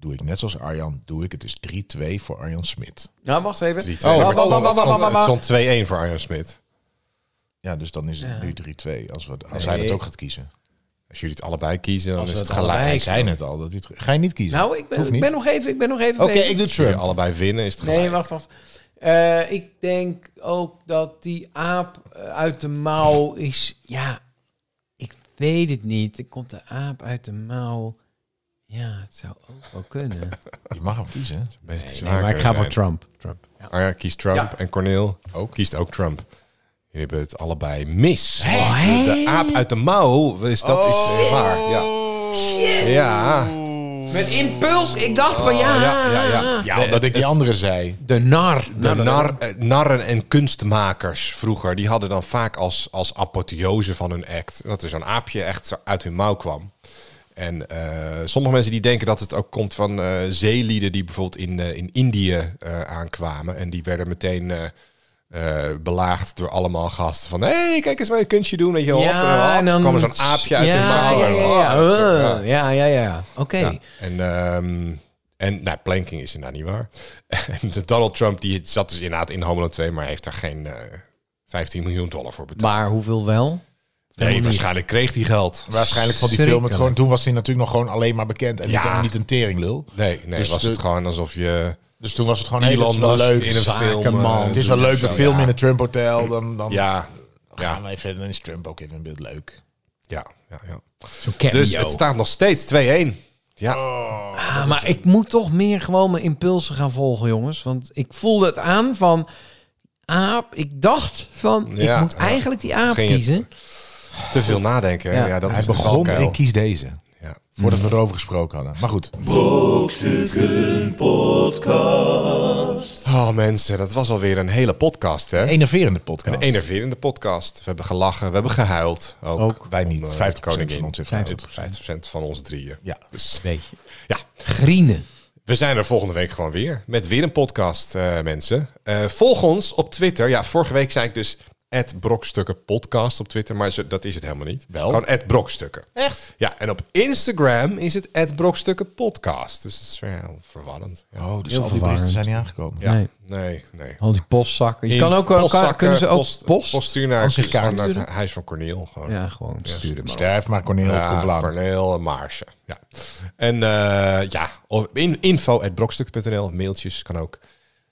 Speaker 3: doe ik net zoals Arjan, doe ik. Het is 3-2 voor Arjan Smit.
Speaker 4: Nou, wacht even.
Speaker 2: Drie,
Speaker 4: Oh,
Speaker 2: twee, maar het
Speaker 4: wa-
Speaker 2: stond-
Speaker 4: wa- wa- wa- wa- wa-
Speaker 2: Het
Speaker 4: wa-
Speaker 2: stond het stond 2-1 voor Arjan Smit.
Speaker 3: Ja, dus dan is het nu 3-2 als, we, als hij
Speaker 4: Nee.
Speaker 3: dat ook gaat kiezen.
Speaker 2: Als jullie het allebei kiezen, dan
Speaker 4: Als
Speaker 2: is
Speaker 4: we
Speaker 2: het
Speaker 4: het
Speaker 2: gelijk.
Speaker 4: allebei
Speaker 3: Hij zei net al. Dat hij het- ga je niet kiezen?
Speaker 4: Nou, ik ben,
Speaker 3: Hoeft
Speaker 4: ik
Speaker 3: niet.
Speaker 4: ben nog even, ik ben nog even
Speaker 3: Oké,
Speaker 4: bezig.
Speaker 3: ik doe
Speaker 2: Als jullie
Speaker 3: Trump.
Speaker 2: allebei winnen, is het gelijk.
Speaker 4: Nee, wacht, wacht. Eh, ik denk ook dat die aap eh, uit de mouw is... Ja, ik weet het niet. Er komt de aap uit de mouw. Ja, het zou ook wel kunnen.
Speaker 3: Je mag hem kiezen.
Speaker 2: Best
Speaker 4: Nee, maar ik ga voor Trump. Trump.
Speaker 2: Arjan Oh kiest Trump
Speaker 4: Ja.
Speaker 2: en Corneel ook. kiest ook Trump. Jullie hebben het allebei mis. Want De aap uit de mouw, is, dat
Speaker 4: Oh.
Speaker 2: is waar. Ja. ja.
Speaker 4: Met impuls, ik dacht van Oh, ja.
Speaker 2: Oh, ja, ja, ja.
Speaker 3: Ja, omdat ik die andere zei.
Speaker 4: De nar.
Speaker 2: De nar, eh, narren en kunstmakers vroeger, die hadden dan vaak als, als apotheose van hun act... dat er zo'n aapje echt zo uit hun mouw kwam. En eh, sommige mensen die denken dat het ook komt van eh, zeelieden... die bijvoorbeeld in, eh, in Indië eh, aankwamen. En die werden meteen eh, eh, belaagd door allemaal gasten. Van, hé, hey, kijk eens mijn kunstje doen. Weet je wel.
Speaker 4: Ja,
Speaker 2: Hop,
Speaker 4: en
Speaker 2: en
Speaker 4: dan-
Speaker 2: dan kwam er zo'n aapje uit hun
Speaker 4: ja,
Speaker 2: mouw.
Speaker 4: ja,
Speaker 2: En,
Speaker 4: ja,
Speaker 2: oh,
Speaker 4: ja.
Speaker 2: dat soort- ja.
Speaker 4: Uh, ja, ja, ja. Oké.
Speaker 2: Ja, En, ehm, en nou, planking is inderdaad niet waar. En de Donald Trump die zat dus inderdaad in Homeland 2, maar heeft daar geen eh, 15 miljoen dollar voor betaald.
Speaker 4: Maar hoeveel wel?
Speaker 2: nee, waarschijnlijk kreeg hij geld.
Speaker 3: Waarschijnlijk van die film. Het gewoon, toen was hij natuurlijk nog gewoon alleen maar bekend. En niet,
Speaker 2: Ja.
Speaker 3: en niet een teringlul.
Speaker 2: Nee, nee
Speaker 3: Dus
Speaker 2: was
Speaker 3: de-
Speaker 2: het gewoon alsof je
Speaker 3: Dus toen was het gewoon heel
Speaker 2: Elon
Speaker 3: wel
Speaker 2: Musk
Speaker 3: leuk.
Speaker 2: in een film... eh,
Speaker 3: Man, het is wel
Speaker 2: doet
Speaker 3: leuk,
Speaker 2: of
Speaker 3: we
Speaker 2: zo.
Speaker 3: filmen
Speaker 2: Ja.
Speaker 3: in het Trump Hotel. Dan, dan
Speaker 2: Ja,
Speaker 3: gaan
Speaker 2: ja,
Speaker 3: we even, dan is Trump ook even in beeld leuk.
Speaker 2: ja, ja, ja.
Speaker 4: Zo'n cameo.
Speaker 2: Dus het staat nog steeds 2-1. Ja,
Speaker 4: Ah, maar ik moet toch meer gewoon mijn impulsen gaan volgen, jongens. Want ik voelde het aan van... Aap, ik dacht van... ik
Speaker 2: Ja,
Speaker 4: moet
Speaker 2: ja.
Speaker 4: eigenlijk die aap
Speaker 2: Ging het-
Speaker 4: kiezen.
Speaker 2: te veel nadenken.
Speaker 4: Ja.
Speaker 2: Ja, dat
Speaker 3: Hij
Speaker 2: is de
Speaker 3: begon,
Speaker 2: valkuil.
Speaker 3: ik kies deze.
Speaker 2: Ja.
Speaker 3: Voordat we erover gesproken hadden. Maar goed.
Speaker 1: Brokstukken Podcast.
Speaker 2: Oh mensen, dat was alweer een hele podcast hè.
Speaker 3: Enerverende podcast.
Speaker 2: Een enerverende podcast. We hebben gelachen, we hebben gehuild. Ook.
Speaker 4: Ook.
Speaker 3: Wij niet.
Speaker 2: Om, eh,
Speaker 3: 50%
Speaker 2: koningin.
Speaker 3: van ons heeft gehuild.
Speaker 2: 50% van ons drieën.
Speaker 3: Ja.
Speaker 2: Dus,
Speaker 4: Weet je.
Speaker 2: ja.
Speaker 4: Grienen.
Speaker 2: We zijn er volgende week gewoon weer. Met weer een podcast, eh, mensen. Eh, volg ons op Twitter. Ja, vorige week zei ik dus... Brokstukken podcast op Twitter, maar zo- dat is het helemaal niet.
Speaker 3: Wel?
Speaker 2: Gewoon Brokstukken.
Speaker 3: Echt?
Speaker 2: Ja, en op Instagram is het Brokstukken podcast. Dus dat is weer heel verwarrend. Ja.
Speaker 3: Oh, dus
Speaker 4: Heel
Speaker 3: al die berichten
Speaker 4: verwarrend.
Speaker 3: zijn niet aangekomen.
Speaker 2: Ja.
Speaker 4: Nee.
Speaker 2: Nee, nee.
Speaker 4: Al die postzakken. Je kan ook wel,
Speaker 2: Postzakken,
Speaker 4: kunnen ze ook post?
Speaker 2: post, stuur naar,
Speaker 3: Als je kaart
Speaker 2: gewoon naar het
Speaker 3: sturen?
Speaker 2: huis van Corneel. Gewoon.
Speaker 4: Ja, gewoon sturen maar.
Speaker 3: Sterf maar Cornel
Speaker 2: Ja,
Speaker 3: komt later.
Speaker 2: Corneel en Maarsje. Ja. En eh, ja, of in, info.brokstuk.nl. Mailtjes kan ook.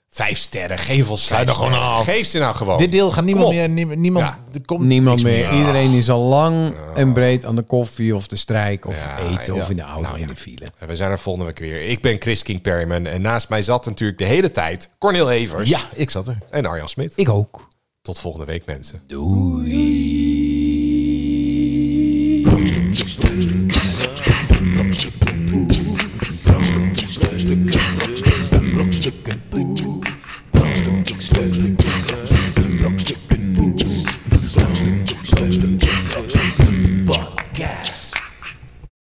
Speaker 2: Vijf sterren, geef ons
Speaker 3: Sluit er
Speaker 2: vijf
Speaker 3: gewoon
Speaker 2: sterren.
Speaker 3: af.
Speaker 2: Geef ze nou gewoon.
Speaker 3: Dit deel gaat niemand
Speaker 2: Kom op.
Speaker 3: meer. nie- Niemand,
Speaker 2: Ja.
Speaker 3: er komt
Speaker 4: Niemand
Speaker 3: niks
Speaker 4: meer. Iedereen is al lang en breed aan de koffie of de strijk of
Speaker 2: Ja,
Speaker 4: eten
Speaker 2: ja.
Speaker 4: of in de auto
Speaker 2: Nou,
Speaker 4: in
Speaker 2: ja.
Speaker 4: de file.
Speaker 2: En We zijn er volgende week weer. Ik ben Chris King Perryman. En naast mij zat natuurlijk de hele tijd Corneel Evers.
Speaker 3: Ja, ik zat er.
Speaker 2: En Arjan Smit.
Speaker 4: Ik ook.
Speaker 2: Tot volgende week mensen.
Speaker 1: Doei.